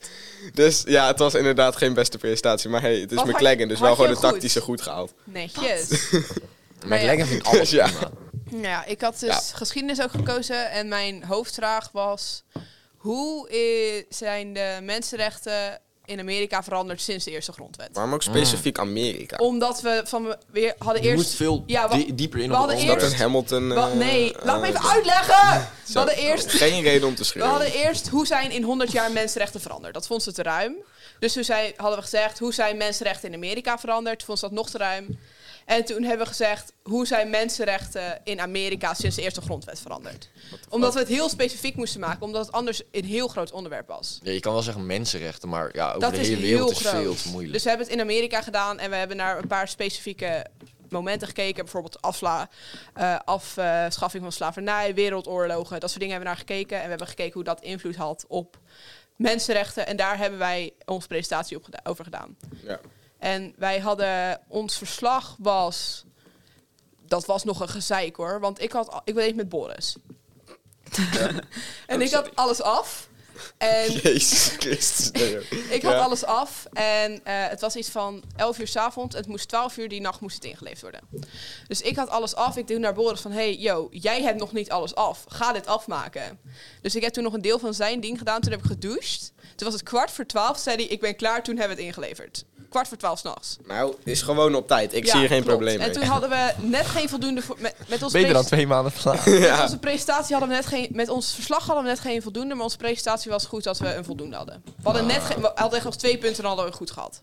[SPEAKER 2] Dus ja, het was inderdaad geen beste presentatie. Maar hey, het is
[SPEAKER 1] Wat had-
[SPEAKER 2] McLaggen, dus
[SPEAKER 1] had
[SPEAKER 2] wel
[SPEAKER 1] je
[SPEAKER 2] gewoon de
[SPEAKER 1] hem goed?
[SPEAKER 2] tactische goed gehaald.
[SPEAKER 1] Netjes.
[SPEAKER 4] Mijn lekker vind ik alles
[SPEAKER 2] Dus ja.
[SPEAKER 4] prima.
[SPEAKER 1] Nou ja, ik had dus geschiedenis ook gekozen en mijn hoofdvraag was... Hoe i- zijn de mensenrechten in Amerika veranderd sinds de eerste grondwet?
[SPEAKER 2] Waarom ook specifiek Amerika?
[SPEAKER 1] Omdat we van weer hadden
[SPEAKER 4] Je
[SPEAKER 1] eerst...
[SPEAKER 4] moet veel
[SPEAKER 1] Ja, wa-
[SPEAKER 4] die- dieper in
[SPEAKER 1] we
[SPEAKER 4] op
[SPEAKER 1] hadden
[SPEAKER 4] het
[SPEAKER 2] Omdat
[SPEAKER 1] eerst-
[SPEAKER 2] een
[SPEAKER 4] onderwerp.
[SPEAKER 2] Hamilton...
[SPEAKER 1] Wa-
[SPEAKER 2] eh,
[SPEAKER 1] nee,
[SPEAKER 2] eh,
[SPEAKER 1] laat me even uitleggen! We
[SPEAKER 2] zo-
[SPEAKER 1] hadden eerst
[SPEAKER 2] Geen reden om te
[SPEAKER 1] We
[SPEAKER 2] schreeuwen.
[SPEAKER 1] hadden eerst hoe zijn in 100 jaar mensenrechten veranderd. Dat vond ze te ruim. Dus toen zei, hadden we gezegd hoe zijn mensenrechten in Amerika veranderd. Toen vond ze dat nog te ruim. En toen hebben we gezegd hoe zijn mensenrechten in Amerika sinds de eerste grondwet veranderd. Omdat we het heel specifiek moesten maken, omdat het anders een heel groot onderwerp was.
[SPEAKER 4] Ja, je kan wel zeggen mensenrechten, maar ja, over
[SPEAKER 1] Dat
[SPEAKER 4] de
[SPEAKER 1] is
[SPEAKER 4] hele
[SPEAKER 1] heel
[SPEAKER 4] wereld is
[SPEAKER 1] groot.
[SPEAKER 4] veel te moeilijk.
[SPEAKER 1] Dus we hebben het in Amerika gedaan en we hebben naar een paar specifieke momenten gekeken. Bijvoorbeeld afsla, eh, afschaffing van slavernij, wereldoorlogen. Dat soort dingen hebben we naar gekeken. En we hebben gekeken hoe dat invloed had op mensenrechten. En daar hebben wij onze presentatie op geda- over gedaan.
[SPEAKER 2] Ja.
[SPEAKER 1] En wij hadden, ons verslag was dat was nog een gezeik hoor. Want ik had, al- ik weet met Boris. en
[SPEAKER 2] Oh,
[SPEAKER 1] ik had
[SPEAKER 2] sorry.
[SPEAKER 1] alles af. En
[SPEAKER 2] Jezus Christus. nee, joh.
[SPEAKER 1] ik had
[SPEAKER 2] Ja.
[SPEAKER 1] alles af en eh, het was iets van 11 uur s'avonds. Het moest 12 uur, die nacht moest het ingeleverd worden. Dus ik had alles af. Ik doe naar Boris van, hey, yo, jij hebt nog niet alles af. Ga dit afmaken. Dus ik heb toen nog een deel van zijn ding gedaan. Toen heb ik gedoucht. Toen was het kwart voor 12, zei hij, ik ben klaar. Toen hebben we het ingeleverd. Kwart voor 12 s'nachts.
[SPEAKER 2] Nou, is gewoon op tijd. Ik zie hier geen probleem mee.
[SPEAKER 1] En toen hadden we net geen voldoende... Voor, met, met ons
[SPEAKER 4] Beter dan twee maanden nou. vandaag.
[SPEAKER 1] met
[SPEAKER 2] ja.
[SPEAKER 1] onze presentatie hadden we net geen. Met ons verslag hadden we net geen voldoende, maar onze presentatie was goed dat we een voldoende hadden. We hadden
[SPEAKER 4] Ah.
[SPEAKER 1] net geen, we hadden echt nog twee punten en hadden we goed gehad.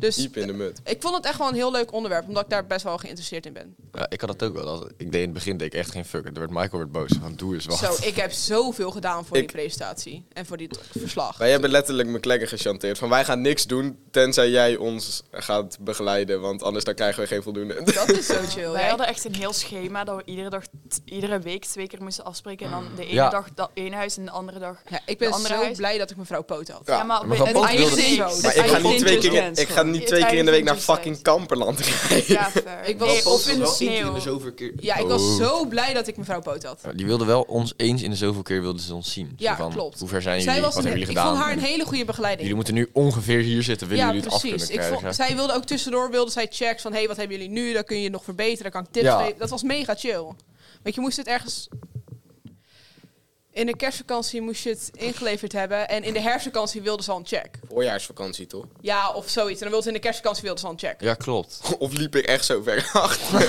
[SPEAKER 1] Dus
[SPEAKER 2] Diep in de mut.
[SPEAKER 1] ik vond het echt wel een heel leuk onderwerp, omdat ik daar best wel geïnteresseerd in ben.
[SPEAKER 4] Ja, ik had dat ook wel. Dat- ik deed in het begin deed ik echt geen fuck. En toen werd Michael werd boos. Van doe eens wat.
[SPEAKER 1] Zo, ik heb zoveel gedaan voor
[SPEAKER 2] Ik-
[SPEAKER 1] die presentatie en voor dit verslag.
[SPEAKER 2] Wij hebben letterlijk McLaggen gechanteerd. Van wij gaan niks doen tenzij jij ons gaat begeleiden. Want anders dan krijgen we geen voldoende.
[SPEAKER 1] Dat is zo chill.
[SPEAKER 3] Wij
[SPEAKER 1] hè?
[SPEAKER 3] hadden echt een heel schema dat we iedere, dag, t- iedere week twee keer moesten afspreken. En dan de ene
[SPEAKER 4] Ja.
[SPEAKER 3] dag dat ene huis en de andere dag.
[SPEAKER 1] Ja, ik
[SPEAKER 3] De
[SPEAKER 1] ben
[SPEAKER 3] andere
[SPEAKER 1] zo
[SPEAKER 3] huis-
[SPEAKER 1] blij dat ik mevrouw Poot had.
[SPEAKER 2] Ja,
[SPEAKER 3] maar
[SPEAKER 4] mevrouw
[SPEAKER 3] het
[SPEAKER 4] Bond
[SPEAKER 3] eigen
[SPEAKER 4] wilde-
[SPEAKER 3] ding-
[SPEAKER 1] Maar
[SPEAKER 3] het
[SPEAKER 2] Maar ik
[SPEAKER 3] eigen
[SPEAKER 2] ga niet
[SPEAKER 3] ding
[SPEAKER 2] twee
[SPEAKER 3] is
[SPEAKER 2] keer, in-
[SPEAKER 3] grens
[SPEAKER 2] ik ga niet twee
[SPEAKER 3] Het
[SPEAKER 2] keer in de week naar
[SPEAKER 3] eindpunt is
[SPEAKER 2] fucking Kamperland rijden.
[SPEAKER 3] Ja, fair.
[SPEAKER 1] Ik was
[SPEAKER 3] Nee,
[SPEAKER 1] op
[SPEAKER 3] of
[SPEAKER 1] in
[SPEAKER 3] in de sneeuw.
[SPEAKER 4] zoveel keer.
[SPEAKER 1] Ja, ik was zo blij dat ik mevrouw Poot had.
[SPEAKER 4] Die wilden wel ons eens in de zoveel keer wilden ze ons zien. Zo
[SPEAKER 1] Ja,
[SPEAKER 4] van,
[SPEAKER 1] klopt.
[SPEAKER 4] Hoe ver zijn
[SPEAKER 1] Zij
[SPEAKER 4] jullie?
[SPEAKER 1] was
[SPEAKER 4] Wat
[SPEAKER 1] een, ik
[SPEAKER 4] hebben jullie
[SPEAKER 1] vond
[SPEAKER 4] gedaan?
[SPEAKER 1] haar een
[SPEAKER 4] En
[SPEAKER 1] hele goede begeleiding.
[SPEAKER 4] Jullie moeten nu ongeveer hier zitten. Willen
[SPEAKER 1] ja,
[SPEAKER 4] jullie het af kunnen
[SPEAKER 1] precies.
[SPEAKER 4] krijgen?
[SPEAKER 1] Ik vond, zij wilde ook tussendoor wilde zij checks van hé, hey, wat hebben jullie nu? Dan kun je nog verbeteren, kan ik tips
[SPEAKER 4] Ja.
[SPEAKER 1] geven. Dat was mega chill. Want je moest het ergens in de kerstvakantie moest je het ingeleverd hebben en in de herfstvakantie wilden ze al een check.
[SPEAKER 2] Voorjaarsvakantie toch?
[SPEAKER 1] Ja, of zoiets. En dan wilden ze in de kerstvakantie wilden ze al een check.
[SPEAKER 4] Ja, klopt.
[SPEAKER 2] Of liep ik echt zo ver achter?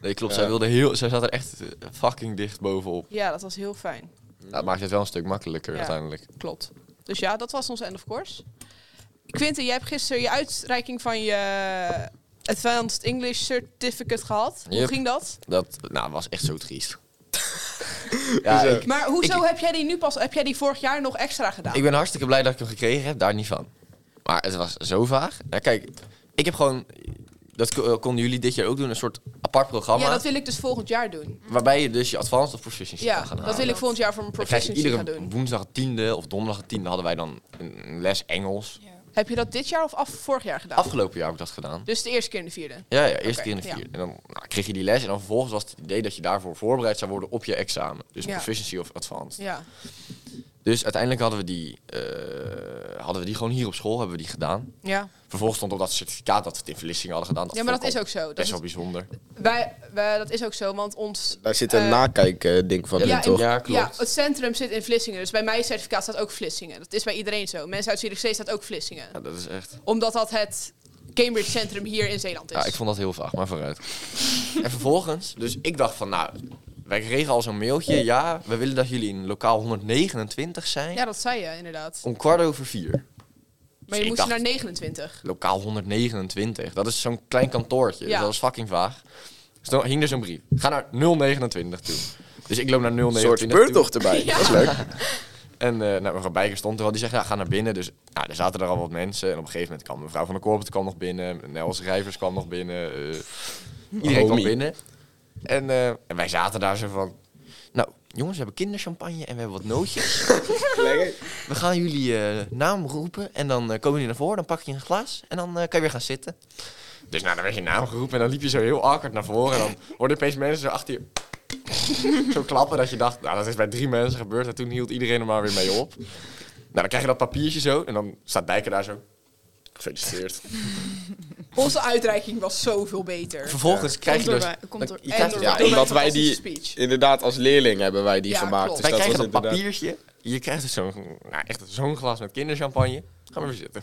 [SPEAKER 4] Nee, klopt.
[SPEAKER 2] Ja.
[SPEAKER 4] Zij, wilde heel, zij zat er echt eh, fucking dicht bovenop.
[SPEAKER 1] Ja, dat was heel fijn.
[SPEAKER 4] Dat maakt het wel een stuk makkelijker
[SPEAKER 1] Mm. Ja.
[SPEAKER 4] uiteindelijk.
[SPEAKER 1] Klopt. Dus ja, dat was onze end of course. Quinten, jij hebt gisteren je uitreiking van je Advanced English Certificate gehad. Hoe
[SPEAKER 4] Yep.
[SPEAKER 1] ging dat?
[SPEAKER 4] Dat nou, was echt zo triest. ja,
[SPEAKER 2] Hoezo?
[SPEAKER 4] ik,
[SPEAKER 1] Maar hoezo
[SPEAKER 4] Ik-
[SPEAKER 1] heb jij die nu pas? Heb jij die vorig jaar nog extra gedaan?
[SPEAKER 4] ik ben hartstikke blij dat ik hem gekregen heb. Daar niet van. Maar het was zo vaag. Nou, kijk, ik heb gewoon... Dat ko- konden jullie dit jaar ook doen. Een soort apart programma.
[SPEAKER 1] Ja, dat wil ik dus volgend jaar doen.
[SPEAKER 4] Waarbij je dus je advanced of proficiency
[SPEAKER 1] Ja,
[SPEAKER 4] kan gaan
[SPEAKER 1] dat wil ik volgend jaar voor mijn
[SPEAKER 4] Dan krijg je
[SPEAKER 1] proficiency gaan
[SPEAKER 4] iedere
[SPEAKER 1] doen.
[SPEAKER 4] woensdag het tiende of donderdag het tiende hadden wij dan een een les Engels.
[SPEAKER 3] Ja.
[SPEAKER 1] Heb je dat dit jaar of af, vorig jaar gedaan?
[SPEAKER 4] Afgelopen jaar heb ik dat gedaan.
[SPEAKER 1] dus de eerste keer in de vierde.
[SPEAKER 4] Ja, ja eerste
[SPEAKER 1] Oké,
[SPEAKER 4] keer in de
[SPEAKER 1] ja.
[SPEAKER 4] vier. En dan nou, kreeg je die les en dan vervolgens was het idee dat je daarvoor voorbereid zou worden op je examen. Dus
[SPEAKER 1] Ja.
[SPEAKER 4] proficiency of advanced.
[SPEAKER 1] Ja.
[SPEAKER 4] Dus uiteindelijk hadden we, die, eh, hadden we die gewoon hier op school hebben we die gedaan.
[SPEAKER 1] Ja.
[SPEAKER 4] Vervolgens stond op dat certificaat dat we het in verlissingen hadden gedaan.
[SPEAKER 1] ja, maar dat
[SPEAKER 4] vond
[SPEAKER 1] is
[SPEAKER 4] ik
[SPEAKER 1] ook zo. Dat,
[SPEAKER 4] Best
[SPEAKER 1] is,
[SPEAKER 4] wel bijzonder.
[SPEAKER 1] wij, wij- dat is ook zo, want ons...
[SPEAKER 2] Daar zit
[SPEAKER 1] een
[SPEAKER 2] een
[SPEAKER 1] Eh,
[SPEAKER 2] nakijkding van
[SPEAKER 1] ja,
[SPEAKER 2] in,
[SPEAKER 1] in-
[SPEAKER 2] toch?
[SPEAKER 1] toch?
[SPEAKER 4] Ja, klopt.
[SPEAKER 1] Ja, het centrum zit in Vlissingen. Dus bij mijn certificaat staat ook Vlissingen. Dat is bij iedereen zo. Mensen uit Zierikzee staat ook Vlissingen.
[SPEAKER 4] Ja, dat is echt.
[SPEAKER 1] Omdat dat het Cambridge Centrum hier in Zeeland is.
[SPEAKER 4] Ja, ik vond dat heel vaag, maar vooruit. en vervolgens, dus ik dacht van, nou, wij kregen al zo'n mailtje. Ja, we willen dat jullie in lokaal 129 zijn.
[SPEAKER 1] Ja, dat zei je inderdaad.
[SPEAKER 4] Om kwart over vier.
[SPEAKER 1] Maar je
[SPEAKER 4] ik
[SPEAKER 1] moest
[SPEAKER 4] dacht-
[SPEAKER 1] naar 29.
[SPEAKER 4] Lokaal 129. Dat is zo'n klein kantoortje. Dus
[SPEAKER 1] Ja.
[SPEAKER 4] dat was fucking vaag. Dus dan hing er zo'n brief. Ga naar 029 toe. Dus ik loop naar
[SPEAKER 2] Een
[SPEAKER 4] 029
[SPEAKER 2] soort
[SPEAKER 4] toe.
[SPEAKER 2] speurtocht erbij.
[SPEAKER 1] Ja.
[SPEAKER 2] Dat is leuk.
[SPEAKER 4] En eh nou, mevrouw Bijker stond er wel. Die zegt, ja, ga naar binnen. Dus nou, er zaten er al wat mensen. En op een gegeven moment kwam mevrouw van der Korpert kwam nog binnen. Nels Rijvers kwam nog binnen. eh, iedereen kwam
[SPEAKER 2] Homie.
[SPEAKER 4] binnen. En, eh, en wij zaten daar zo van... Nou, jongens, we hebben kinderchampagne en we hebben wat nootjes.
[SPEAKER 2] Lekker.
[SPEAKER 4] We gaan jullie eh, naam roepen en dan eh, komen jullie naar voren. Dan pak je een glas en dan eh, kan je weer gaan zitten. Dus nou, dan werd je naam geroepen en dan liep je zo heel awkward naar voren. En dan hoorden opeens mensen zo achter je... zo klappen dat je dacht, nou, dat is bij drie mensen gebeurd. En toen hield iedereen er maar weer mee op. Nou, dan krijg je dat papiertje zo en dan staat Dijker daar zo... Gefeliciteerd.
[SPEAKER 1] Onze uitreiking was zoveel beter.
[SPEAKER 4] Vervolgens krijg je
[SPEAKER 5] Komt
[SPEAKER 4] dus...
[SPEAKER 5] erbij- komt
[SPEAKER 4] dan-
[SPEAKER 5] er-
[SPEAKER 4] je
[SPEAKER 1] En
[SPEAKER 4] krijgt-
[SPEAKER 1] door-
[SPEAKER 4] ja,
[SPEAKER 1] door
[SPEAKER 4] wij
[SPEAKER 2] omdat
[SPEAKER 1] mijn
[SPEAKER 2] wij die-
[SPEAKER 1] fantastische speech.
[SPEAKER 2] Inderdaad, als leerling hebben wij die
[SPEAKER 1] Ja,
[SPEAKER 2] gemaakt.
[SPEAKER 1] klopt.
[SPEAKER 2] Dus dat
[SPEAKER 4] krijgen
[SPEAKER 2] was
[SPEAKER 4] dat
[SPEAKER 2] inderdaad...
[SPEAKER 4] papiertje. Je krijgt dus zo'n nou, echt zo'n glas met kinderchampagne. Ga maar weer zitten.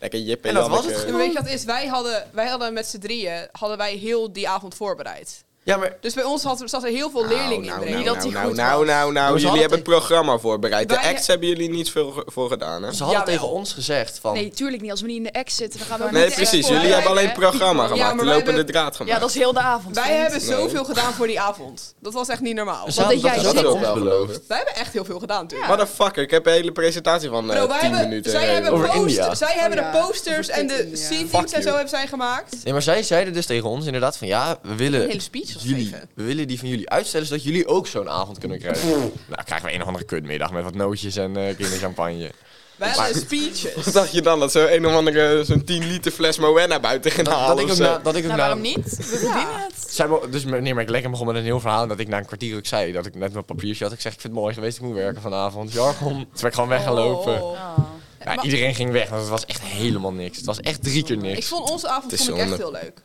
[SPEAKER 2] Lekker Jip en,
[SPEAKER 4] En dat was
[SPEAKER 2] Janneke.
[SPEAKER 4] het
[SPEAKER 1] Ja, maar weet je wat het is? Wij hadden, wij hadden met z'n drieën hadden wij heel die avond voorbereid.
[SPEAKER 4] Ja, maar
[SPEAKER 1] Dus bij ons had, zat er heel veel
[SPEAKER 2] Nou,
[SPEAKER 1] leerlingen
[SPEAKER 2] nou,
[SPEAKER 1] in.
[SPEAKER 2] nou,
[SPEAKER 1] Niet dat die
[SPEAKER 2] nou,
[SPEAKER 1] goed
[SPEAKER 2] nou,
[SPEAKER 1] was.
[SPEAKER 2] nou, nou,
[SPEAKER 4] hadden
[SPEAKER 2] jullie hebben
[SPEAKER 4] het-
[SPEAKER 2] het programma voorbereid. De
[SPEAKER 1] Wij-
[SPEAKER 2] acts hebben jullie niet veel ge- voor gedaan, hè?
[SPEAKER 4] ze hadden
[SPEAKER 1] Jawel.
[SPEAKER 4] tegen ons gezegd van...
[SPEAKER 5] Nee, tuurlijk niet. Als we niet in de ex zitten, dan gaan we
[SPEAKER 1] Nee,
[SPEAKER 5] niet
[SPEAKER 2] Nee,
[SPEAKER 5] echt
[SPEAKER 2] precies.
[SPEAKER 5] voor-
[SPEAKER 2] Jullie hebben alleen het programma
[SPEAKER 1] Ja,
[SPEAKER 2] gemaakt.
[SPEAKER 1] maar wij
[SPEAKER 2] de lopende
[SPEAKER 1] hebben-
[SPEAKER 2] draad
[SPEAKER 3] Ja,
[SPEAKER 2] gemaakt.
[SPEAKER 3] dat is heel de avond.
[SPEAKER 1] Wij
[SPEAKER 3] vriend.
[SPEAKER 1] hebben
[SPEAKER 2] Nee.
[SPEAKER 1] zoveel gedaan voor die avond. Dat was echt niet normaal.
[SPEAKER 4] Ze
[SPEAKER 5] Want
[SPEAKER 4] hadden
[SPEAKER 5] dat jij
[SPEAKER 4] ook
[SPEAKER 5] zit.
[SPEAKER 4] aan ons
[SPEAKER 2] Dat is ook wel
[SPEAKER 4] beloofd.
[SPEAKER 1] Wij hebben echt heel veel gedaan toen.
[SPEAKER 2] Motherfucker, ik heb een hele presentatie van eh,
[SPEAKER 1] Bro, wij
[SPEAKER 2] 10
[SPEAKER 1] hebben-
[SPEAKER 2] minuten.
[SPEAKER 1] zij
[SPEAKER 2] eh,
[SPEAKER 1] hebben,
[SPEAKER 4] Over
[SPEAKER 1] posters-
[SPEAKER 4] India.
[SPEAKER 1] zij hebben
[SPEAKER 5] Oh
[SPEAKER 1] de
[SPEAKER 5] ja,
[SPEAKER 1] posters
[SPEAKER 5] over
[SPEAKER 1] en de
[SPEAKER 5] India.
[SPEAKER 1] C-teams
[SPEAKER 2] Fuck
[SPEAKER 1] en zo
[SPEAKER 2] you.
[SPEAKER 1] hebben zij gemaakt.
[SPEAKER 4] Nee, maar zij zeiden dus tegen ons inderdaad van... Ja, we willen,
[SPEAKER 1] Een hele speech was
[SPEAKER 4] jullie,
[SPEAKER 1] gegeven.
[SPEAKER 4] we willen die van jullie uitstellen... zodat jullie ook zo'n avond kunnen krijgen. nou, krijgen we een of andere kutmiddag met wat nootjes en eh kinderchampagne.
[SPEAKER 1] Wij hadden speeches.
[SPEAKER 2] Wat dacht je dan? Dat ze een of andere zo'n 10 liter fles Moena buiten gaan
[SPEAKER 4] Dat,
[SPEAKER 2] halen
[SPEAKER 4] dat ik
[SPEAKER 2] of
[SPEAKER 4] ook
[SPEAKER 2] zo.
[SPEAKER 4] na, dat ik ook
[SPEAKER 3] Nou,
[SPEAKER 4] na-
[SPEAKER 3] waarom niet? We verdienen het.
[SPEAKER 4] Zij mo- dus meneer McLekken begon met een heel verhaal. En dat ik na een kwartier ook zei dat ik net mijn papiertje had. Ik zeg, ik vind het mooi geweest, ik moet werken vanavond. Jargon. Toen ben ik gewoon weggelopen.
[SPEAKER 1] Oh.
[SPEAKER 4] Ja,
[SPEAKER 1] Maar-
[SPEAKER 4] iedereen ging weg, want het was echt helemaal niks. Het was echt drie keer
[SPEAKER 1] Ik
[SPEAKER 4] niks.
[SPEAKER 1] vond onze avond
[SPEAKER 2] Het is
[SPEAKER 1] vond ik echt heel
[SPEAKER 2] zonde.
[SPEAKER 1] leuk.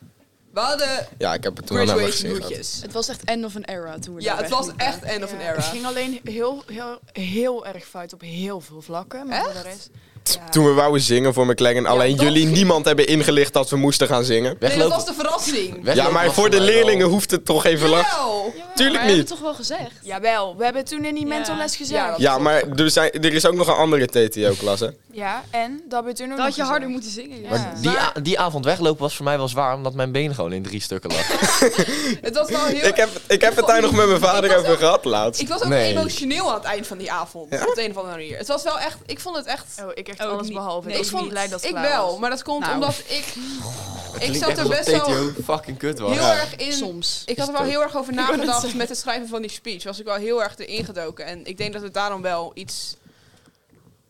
[SPEAKER 1] We hadden
[SPEAKER 2] Ja, ik heb het toen al naar me
[SPEAKER 1] graduation
[SPEAKER 2] gezien. gehad.
[SPEAKER 1] hoedjes.
[SPEAKER 5] Het was echt end of an era toen we
[SPEAKER 1] Ja,
[SPEAKER 5] daar
[SPEAKER 1] het was
[SPEAKER 5] wegliepen.
[SPEAKER 1] echt end of an
[SPEAKER 3] Ja, Het
[SPEAKER 1] era.
[SPEAKER 3] ging alleen heel, heel, heel erg fout op heel veel vlakken. Maar voor de rest... Ja.
[SPEAKER 2] Toen we wouden zingen voor McLaren, alleen
[SPEAKER 1] dat
[SPEAKER 2] jullie
[SPEAKER 1] ging-
[SPEAKER 2] niemand hebben ingelicht dat we moesten gaan zingen.
[SPEAKER 1] Nee, dat
[SPEAKER 4] Weglopen.
[SPEAKER 1] was de verrassing.
[SPEAKER 4] weglopen
[SPEAKER 2] Ja, maar
[SPEAKER 4] was
[SPEAKER 2] voor de
[SPEAKER 4] mij wel-
[SPEAKER 2] leerlingen hoeft het toch even lang.
[SPEAKER 1] Jawel.
[SPEAKER 2] Tuurlijk
[SPEAKER 5] Maar we
[SPEAKER 2] niet.
[SPEAKER 5] hebben het toch wel gezegd?
[SPEAKER 3] Jawel, we hebben toen in die
[SPEAKER 5] Ja.
[SPEAKER 3] mental les
[SPEAKER 1] Ja,
[SPEAKER 3] gezegd.
[SPEAKER 1] dat-
[SPEAKER 3] Ja,
[SPEAKER 2] Ja, maar er, zijn, er is ook nog een andere TTO-klas, hè?
[SPEAKER 3] en dat hebben we toen ook
[SPEAKER 5] Dat
[SPEAKER 3] nog
[SPEAKER 5] had je
[SPEAKER 3] gezegd.
[SPEAKER 5] harder moeten zingen.
[SPEAKER 3] Ja.
[SPEAKER 5] Ja.
[SPEAKER 4] Maar die, a- die avond weglopen was voor mij wel zwaar, omdat mijn been gewoon in drie stukken lag.
[SPEAKER 1] Het was wel heel...
[SPEAKER 2] Ik heb, ik heb het daar nog met mijn vader over gehad laatst.
[SPEAKER 1] Ik was ook
[SPEAKER 4] Nee.
[SPEAKER 1] emotioneel aan het eind van die avond. Op de een of andere manier. Het was wel echt... Ik vond het echt...
[SPEAKER 3] Oh, ik echt
[SPEAKER 5] Ook
[SPEAKER 3] alles
[SPEAKER 5] niet.
[SPEAKER 3] behalve.
[SPEAKER 5] Nee,
[SPEAKER 3] ik
[SPEAKER 1] ik
[SPEAKER 3] was
[SPEAKER 1] vond,
[SPEAKER 3] niet blij dat het
[SPEAKER 1] ik
[SPEAKER 3] klaar
[SPEAKER 1] wel,
[SPEAKER 3] was.
[SPEAKER 1] maar dat komt
[SPEAKER 3] Nou.
[SPEAKER 1] omdat ik... ik
[SPEAKER 4] Klinkt
[SPEAKER 1] zat
[SPEAKER 4] echt
[SPEAKER 1] er
[SPEAKER 4] alsof
[SPEAKER 1] best wel
[SPEAKER 4] TTO fucking kut was.
[SPEAKER 1] heel
[SPEAKER 2] Ja.
[SPEAKER 1] erg in...
[SPEAKER 5] Soms.
[SPEAKER 1] Ik had er wel heel erg over nagedacht met het schrijven van die speech. Was ik wel heel erg erin gedoken. En ik denk dat het daarom wel iets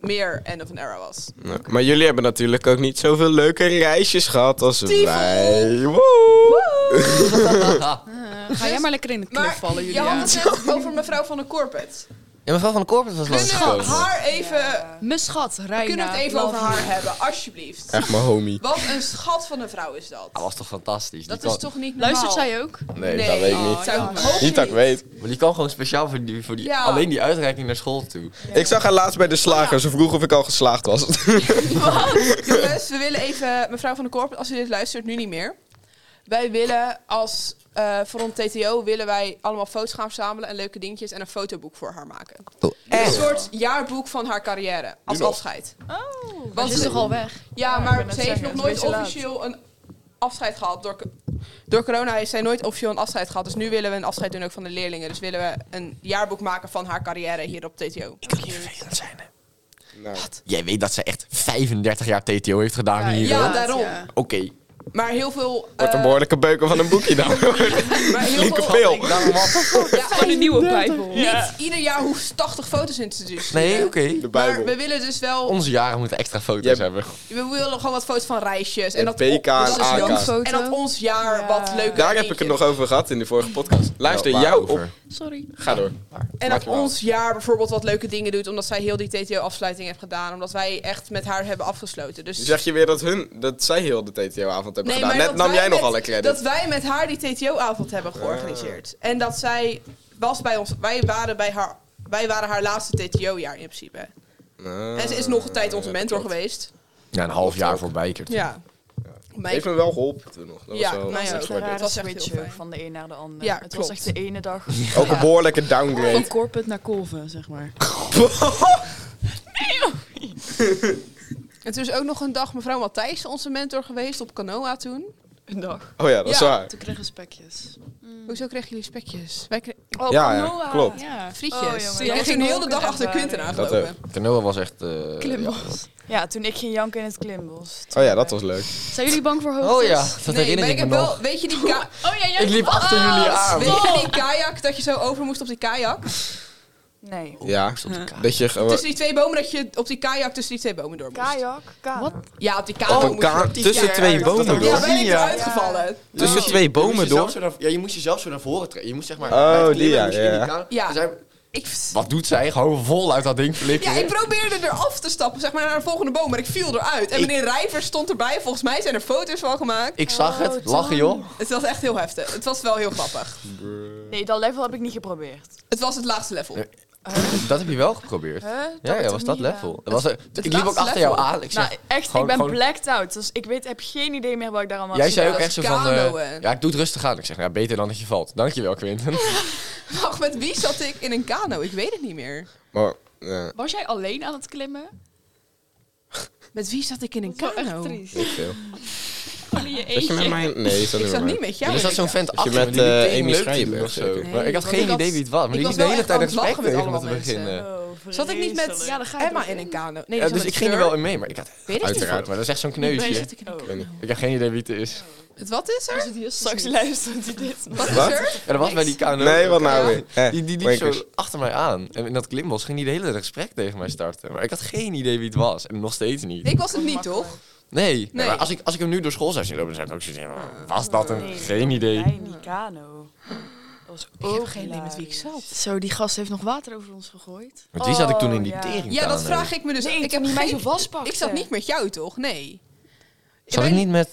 [SPEAKER 1] meer end of an era was.
[SPEAKER 2] Nou, maar jullie hebben natuurlijk ook niet zoveel leuke reisjes gehad als
[SPEAKER 1] Tyfel.
[SPEAKER 2] wij. Woe!
[SPEAKER 5] Ga jij maar lekker in het knop
[SPEAKER 1] Maar
[SPEAKER 5] vallen,
[SPEAKER 1] je
[SPEAKER 5] jullie.
[SPEAKER 1] had het net over mevrouw van de Corpet.
[SPEAKER 4] Ja, mevrouw van de Corpus was
[SPEAKER 1] Kunnen we
[SPEAKER 4] langsgekomen.
[SPEAKER 1] haar even...
[SPEAKER 5] Mijn schat, Reina.
[SPEAKER 1] Kunnen we het even
[SPEAKER 5] love
[SPEAKER 1] over
[SPEAKER 5] you.
[SPEAKER 1] haar hebben, alsjeblieft?
[SPEAKER 2] Echt mijn homie.
[SPEAKER 1] Wat een schat van een vrouw is dat.
[SPEAKER 4] Dat Ah, was toch fantastisch.
[SPEAKER 1] Dat
[SPEAKER 4] die
[SPEAKER 1] is
[SPEAKER 4] kan...
[SPEAKER 1] toch niet normaal?
[SPEAKER 5] Luistert zij ook?
[SPEAKER 4] Nee, dat weet ik niet.
[SPEAKER 1] Oh, zou ik
[SPEAKER 5] ja.
[SPEAKER 1] hopen
[SPEAKER 2] Niet dat ik weet.
[SPEAKER 4] Maar die kan gewoon speciaal voor, die, voor die,
[SPEAKER 1] Ja.
[SPEAKER 4] alleen die uitreiking naar school toe.
[SPEAKER 2] Ik zag haar laatst
[SPEAKER 1] Oh,
[SPEAKER 2] bij de slager. Ze vroeg of ik al geslaagd was.
[SPEAKER 1] Jongens, we willen even, mevrouw van de Korp, als u dit luistert, nu niet meer. Wij willen als eh voor ons TTO willen wij allemaal foto's gaan verzamelen en leuke dingetjes en een fotoboek voor haar maken.
[SPEAKER 4] Oh,
[SPEAKER 1] Een soort jaarboek van haar carrière als
[SPEAKER 2] nog?
[SPEAKER 1] afscheid.
[SPEAKER 3] Oh,
[SPEAKER 5] Want ze is
[SPEAKER 1] ze-
[SPEAKER 5] toch al weg?
[SPEAKER 1] Ja,
[SPEAKER 3] ik
[SPEAKER 1] maar
[SPEAKER 3] wou net
[SPEAKER 1] ze heeft
[SPEAKER 3] zeggen,
[SPEAKER 1] nog
[SPEAKER 3] het
[SPEAKER 1] nooit
[SPEAKER 3] is een beetje
[SPEAKER 1] officieel een afscheid gehad. Door, co- door corona heeft zij nooit officieel een afscheid gehad. Dus nu willen we een afscheid doen ook van de leerlingen. Dus willen we een jaarboek maken van haar carrière hier op TTO.
[SPEAKER 4] Ik kan niet vervelend zijn, hè. Jij weet dat ze echt 35 jaar TTO heeft gedaan hier.
[SPEAKER 1] Ja,
[SPEAKER 4] hoor.
[SPEAKER 1] daarom.
[SPEAKER 5] ja.
[SPEAKER 4] Oké.
[SPEAKER 1] Maar heel veel...
[SPEAKER 2] Wordt een
[SPEAKER 1] eh,
[SPEAKER 2] behoorlijke beuken van een boekje dan.
[SPEAKER 1] maar heel
[SPEAKER 2] Flinke
[SPEAKER 1] veel-
[SPEAKER 2] pil.
[SPEAKER 1] Ja,
[SPEAKER 5] Gewoon een nieuwe Bijbel.
[SPEAKER 1] Niet ieder jaar hoeft 80 foto's in te sturen.
[SPEAKER 4] Nee, oké.
[SPEAKER 2] De
[SPEAKER 1] Maar we
[SPEAKER 2] Bijbel.
[SPEAKER 1] willen dus wel.
[SPEAKER 4] Onze jaren moeten extra foto's
[SPEAKER 2] Jij-
[SPEAKER 4] hebben.
[SPEAKER 1] We willen gewoon wat foto's van reisjes. En
[SPEAKER 2] En
[SPEAKER 1] dat,
[SPEAKER 2] PK en
[SPEAKER 1] dat is
[SPEAKER 2] AK.
[SPEAKER 1] leuk.
[SPEAKER 5] Foto.
[SPEAKER 1] En dat ons jaar
[SPEAKER 3] Ja.
[SPEAKER 1] wat leuker
[SPEAKER 2] Daar heb ik het nog over gehad in de vorige podcast. Luister,
[SPEAKER 4] Wel,
[SPEAKER 2] jou op.
[SPEAKER 4] waarover?
[SPEAKER 5] Sorry.
[SPEAKER 2] Ga door.
[SPEAKER 1] En
[SPEAKER 2] Maak
[SPEAKER 1] dat
[SPEAKER 2] je wel.
[SPEAKER 1] ons jaar bijvoorbeeld wat leuke dingen doet. Omdat zij heel die TTO-afsluiting heeft gedaan. Omdat wij echt met haar hebben afgesloten. Dus
[SPEAKER 2] Nu zeg je weer dat, hun, dat zij heel de TTO-avond hebben
[SPEAKER 1] Nee,
[SPEAKER 2] gedaan.
[SPEAKER 1] maar
[SPEAKER 2] Net
[SPEAKER 1] dat
[SPEAKER 2] nam
[SPEAKER 1] wij
[SPEAKER 2] jij nog
[SPEAKER 1] met-
[SPEAKER 2] alle credit.
[SPEAKER 1] Dat wij met haar die TTO-avond hebben georganiseerd. En dat zij was bij ons. Wij waren, bij haar, wij waren haar laatste TTO-jaar in principe.
[SPEAKER 2] Ah.
[SPEAKER 1] en ze is nog een tijd onze
[SPEAKER 2] ja,
[SPEAKER 1] mentor
[SPEAKER 2] klopt.
[SPEAKER 1] geweest.
[SPEAKER 4] Ja, een half jaar voor Bijkert.
[SPEAKER 1] Ja. Maar ik-
[SPEAKER 2] Heeft me wel geholpen toen nog. Dat
[SPEAKER 1] Ja,
[SPEAKER 2] was wel
[SPEAKER 1] mij
[SPEAKER 3] dat was
[SPEAKER 1] ook.
[SPEAKER 3] echt een
[SPEAKER 1] Het
[SPEAKER 2] gewaardeerd.
[SPEAKER 3] rare
[SPEAKER 1] was echt heel
[SPEAKER 3] switch ook
[SPEAKER 1] fijn.
[SPEAKER 3] van de een naar de ander.
[SPEAKER 1] Ja,
[SPEAKER 3] het
[SPEAKER 1] klopt.
[SPEAKER 3] was echt de ene dag.
[SPEAKER 2] Ook een behoorlijke
[SPEAKER 5] Van
[SPEAKER 2] downgrade.
[SPEAKER 5] Corput naar Kolven, zeg maar.
[SPEAKER 1] En toen is ook nog een dag mevrouw Matthijs onze mentor geweest op Canoa toen.
[SPEAKER 3] Een dag.
[SPEAKER 2] Oh ja, dat is
[SPEAKER 1] Ja.
[SPEAKER 2] waar.
[SPEAKER 5] Toen kregen we spekjes.
[SPEAKER 1] Mm. Hoezo kregen jullie spekjes? Wij kregen
[SPEAKER 3] Oh,
[SPEAKER 2] Ja, ja,
[SPEAKER 3] Noah.
[SPEAKER 2] klopt.
[SPEAKER 5] Ja.
[SPEAKER 1] frietjes.
[SPEAKER 3] Oh, jongen,
[SPEAKER 1] ik
[SPEAKER 3] dat
[SPEAKER 1] ging
[SPEAKER 3] was
[SPEAKER 1] heel de
[SPEAKER 3] ook
[SPEAKER 1] dag
[SPEAKER 3] een
[SPEAKER 1] achter
[SPEAKER 3] ervaring.
[SPEAKER 1] Quinten
[SPEAKER 2] Dat
[SPEAKER 1] aangelopen.
[SPEAKER 4] Canoa was echt... eh,
[SPEAKER 5] Klimbos.
[SPEAKER 3] Ja, toen ik ging janken in het klimbos.
[SPEAKER 2] Oh ja, dat was leuk.
[SPEAKER 5] Zijn jullie bang voor
[SPEAKER 4] ja.
[SPEAKER 5] hoogtes?
[SPEAKER 4] Oh ja, dat
[SPEAKER 1] Nee,
[SPEAKER 4] herinner
[SPEAKER 1] maar
[SPEAKER 4] ik me
[SPEAKER 1] heb
[SPEAKER 4] nog.
[SPEAKER 1] wel, weet je die, ka-
[SPEAKER 3] Oh ja, jij
[SPEAKER 4] Ik liep achter jullie aan.
[SPEAKER 1] weet je die kajak dat je zo over moest op die kajak?
[SPEAKER 3] Nee.
[SPEAKER 2] Ja, dat je gewoon...
[SPEAKER 1] Tussen die twee bomen dat je op die kajak tussen die twee bomen door moest.
[SPEAKER 3] Kajak. kajak.
[SPEAKER 5] Wat?
[SPEAKER 1] Ja, op
[SPEAKER 4] Oh,
[SPEAKER 1] die
[SPEAKER 2] Op
[SPEAKER 1] kajak.
[SPEAKER 2] een
[SPEAKER 1] moest
[SPEAKER 2] ka-
[SPEAKER 1] je-
[SPEAKER 2] tussen twee bomen
[SPEAKER 1] Ja,
[SPEAKER 2] door.
[SPEAKER 1] ben ik
[SPEAKER 4] Ja.
[SPEAKER 1] eruit gevallen.
[SPEAKER 2] Tussen twee bomen door.
[SPEAKER 4] ja, je moest jezelf zo naar voren trekken. Je moest zeg maar...
[SPEAKER 2] Oh, bij het die, klimmen ja, moest je in die ja.
[SPEAKER 1] Ja. Ik,
[SPEAKER 4] Wat doet zij? Gewoon vol uit dat ding
[SPEAKER 1] ja,
[SPEAKER 4] flikkeren.
[SPEAKER 1] ik probeerde eraf te stappen, zeg maar, naar de volgende boom, maar ik viel eruit. En
[SPEAKER 4] Ik-
[SPEAKER 1] meneer Rijver stond erbij. Volgens mij zijn er foto's van gemaakt.
[SPEAKER 4] Ik zag het. Lachen, joh.
[SPEAKER 1] Het was echt heel heftig. Het was wel heel grappig.
[SPEAKER 3] Nee, dat level heb ik niet geprobeerd.
[SPEAKER 1] Het was het laatste level.
[SPEAKER 4] Nee. Dat heb je wel geprobeerd.
[SPEAKER 3] Huh? Dat
[SPEAKER 4] Ja,
[SPEAKER 3] heb
[SPEAKER 4] ja,
[SPEAKER 3] ik
[SPEAKER 4] was
[SPEAKER 3] toch
[SPEAKER 4] dat
[SPEAKER 3] niet
[SPEAKER 4] level. Dat was, er- ik liep ook
[SPEAKER 1] laatste
[SPEAKER 4] achter jou
[SPEAKER 1] level.
[SPEAKER 4] aan. Ik
[SPEAKER 3] gedaan?
[SPEAKER 4] zeg,
[SPEAKER 3] Nou, echt,
[SPEAKER 4] gewoon-
[SPEAKER 3] ik ben
[SPEAKER 4] gewoon-
[SPEAKER 3] blacked out. Dus ik weet, heb geen idee meer wat ik daar allemaal
[SPEAKER 4] Jij
[SPEAKER 3] heb
[SPEAKER 4] zei ook
[SPEAKER 3] gedaan.
[SPEAKER 4] echt zo van... eh,
[SPEAKER 1] kano, hè.
[SPEAKER 4] ja, ik doe het rustig aan. Ik zeg, nou, beter dan dat je valt. Dankjewel, Quinten.
[SPEAKER 1] Ach, met wie zat ik in een kano? Ik weet het niet meer.
[SPEAKER 2] Maar, ja,
[SPEAKER 5] Was jij alleen aan het klimmen?
[SPEAKER 1] Met wie zat ik in een
[SPEAKER 5] Dat is wel echt
[SPEAKER 1] kano?
[SPEAKER 5] triest.
[SPEAKER 2] niet veel.
[SPEAKER 3] in je
[SPEAKER 2] Zat je met
[SPEAKER 3] eentje.
[SPEAKER 2] mij? Nee, zat
[SPEAKER 1] Ik
[SPEAKER 2] niet
[SPEAKER 1] zat
[SPEAKER 2] met
[SPEAKER 1] niet
[SPEAKER 2] mij.
[SPEAKER 1] met jou.
[SPEAKER 4] Er is dat
[SPEAKER 1] in
[SPEAKER 4] zo'n
[SPEAKER 1] de
[SPEAKER 4] vent
[SPEAKER 2] Dus je
[SPEAKER 4] achter
[SPEAKER 2] met,
[SPEAKER 4] me die
[SPEAKER 2] eh,
[SPEAKER 4] meteen
[SPEAKER 2] Amy
[SPEAKER 4] leuk
[SPEAKER 2] Schreiber
[SPEAKER 4] team of zo.
[SPEAKER 2] zeker?
[SPEAKER 4] maar ik had
[SPEAKER 1] Nee,
[SPEAKER 4] geen
[SPEAKER 1] want ik
[SPEAKER 4] idee
[SPEAKER 1] had-
[SPEAKER 4] wie het was.
[SPEAKER 1] ik
[SPEAKER 4] Maar die
[SPEAKER 1] was
[SPEAKER 4] liep de
[SPEAKER 1] wel
[SPEAKER 4] hele
[SPEAKER 1] echt
[SPEAKER 4] tijd
[SPEAKER 1] aan het
[SPEAKER 4] respect
[SPEAKER 1] lachen met
[SPEAKER 4] tegen me te
[SPEAKER 1] allemaal mensen.
[SPEAKER 3] Oh.
[SPEAKER 4] beginnen.
[SPEAKER 1] kamer. Zat ik niet met
[SPEAKER 5] Ja, dan ga je
[SPEAKER 1] Emma
[SPEAKER 5] er
[SPEAKER 1] in een
[SPEAKER 5] ook
[SPEAKER 1] kano? Nee,
[SPEAKER 4] Ja,
[SPEAKER 1] die
[SPEAKER 4] dus
[SPEAKER 1] zat met
[SPEAKER 4] ik ging er
[SPEAKER 1] Fleur.
[SPEAKER 4] wel in mee, maar ik had
[SPEAKER 1] Weet ik niet.
[SPEAKER 4] uiteraard. Maar dat is echt zo'n kneusje. Ik heb geen idee wie het is.
[SPEAKER 1] Het wat is er?
[SPEAKER 3] Straks luistert hij dit.
[SPEAKER 1] Wat is
[SPEAKER 2] Wat?
[SPEAKER 1] er?
[SPEAKER 4] Ja, dat was bij die kano.
[SPEAKER 2] Nee, wat nou
[SPEAKER 1] Ja.
[SPEAKER 2] weer? Eh,
[SPEAKER 4] Die, die liep
[SPEAKER 2] wankers.
[SPEAKER 4] zo achter mij aan. En in dat klimbos ging die de hele tijd gesprek tegen mij starten. Maar ik had geen idee wie het was. En nog steeds niet.
[SPEAKER 1] Ik was het niet, toch?
[SPEAKER 4] Nee.
[SPEAKER 1] Nee.
[SPEAKER 4] Maar als ik, als ik hem nu door school zou zien lopen, dan zou ik ook zoiets hebben. Was dat een... geen idee.
[SPEAKER 3] Bij Nicano. Dat was
[SPEAKER 1] Ik
[SPEAKER 3] ook
[SPEAKER 1] heb geen idee met wie ik
[SPEAKER 3] hilarisch.
[SPEAKER 1] zat.
[SPEAKER 5] Zo, die gast heeft nog water over ons gegooid.
[SPEAKER 4] Want die zat ik toen in die
[SPEAKER 3] Oh, ja.
[SPEAKER 4] tering
[SPEAKER 1] Ja, dat vraag ik me dus.
[SPEAKER 3] Nee,
[SPEAKER 1] ik heb
[SPEAKER 3] niet mij zo
[SPEAKER 1] geen-
[SPEAKER 3] vastpakken.
[SPEAKER 1] Ik zat niet met jou, toch? Nee.
[SPEAKER 4] Zat ik
[SPEAKER 1] Wij-
[SPEAKER 4] niet met...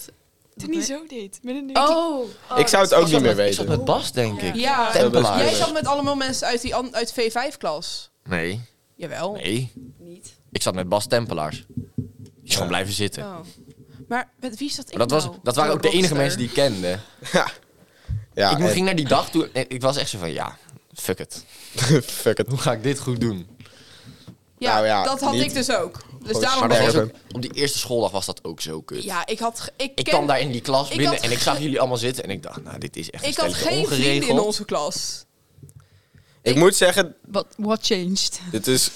[SPEAKER 3] Toen hij zo deed. Met een
[SPEAKER 1] Oh,
[SPEAKER 2] Ik zou het ook niet meer
[SPEAKER 4] Ik zat
[SPEAKER 2] weten.
[SPEAKER 4] met Bas, denk ik.
[SPEAKER 1] ja.
[SPEAKER 2] Zou best
[SPEAKER 4] Tempelaar.
[SPEAKER 1] Jij
[SPEAKER 2] kunnen.
[SPEAKER 1] zat met allemaal mensen uit die an- uit V5-klas.
[SPEAKER 4] Nee.
[SPEAKER 1] Jawel.
[SPEAKER 4] Nee.
[SPEAKER 5] Niet.
[SPEAKER 4] Ik zat met Bas Tempelaars. Die is gewoon blijven zitten.
[SPEAKER 1] Oh. Maar met wie zat ik
[SPEAKER 4] Maar dat, was,
[SPEAKER 1] nou?
[SPEAKER 4] dat waren
[SPEAKER 1] Zo'n
[SPEAKER 4] ook de enige
[SPEAKER 1] rockster.
[SPEAKER 4] mensen die ik kende.
[SPEAKER 2] Ja,
[SPEAKER 4] ik
[SPEAKER 2] en-
[SPEAKER 4] ging naar die dag toe en ik was echt zo van, ja, fuck it.
[SPEAKER 2] Fuck it.
[SPEAKER 4] Hoe ga ik dit goed doen?
[SPEAKER 1] Ja,
[SPEAKER 2] Nou ja,
[SPEAKER 1] dat had
[SPEAKER 2] niet-
[SPEAKER 1] ik dus ook. Dus
[SPEAKER 2] Gewoon
[SPEAKER 1] daarom...
[SPEAKER 4] Maar dat
[SPEAKER 2] Nee,
[SPEAKER 4] was
[SPEAKER 2] ik
[SPEAKER 4] ook, op die eerste schooldag was dat ook zo kut.
[SPEAKER 1] Ja, ik had... ge- Ik,
[SPEAKER 4] ik
[SPEAKER 1] ken-
[SPEAKER 4] kwam daar in die klas
[SPEAKER 1] ik
[SPEAKER 4] binnen
[SPEAKER 1] had
[SPEAKER 4] en ik zag
[SPEAKER 1] ge-
[SPEAKER 4] jullie allemaal zitten. En ik dacht, nou, dit is echt een
[SPEAKER 1] Ik had
[SPEAKER 4] stelletje
[SPEAKER 1] geen vrienden in
[SPEAKER 4] ongeregeld.
[SPEAKER 1] onze klas.
[SPEAKER 2] Ik moet zeggen,
[SPEAKER 5] What, what changed?
[SPEAKER 2] dit is...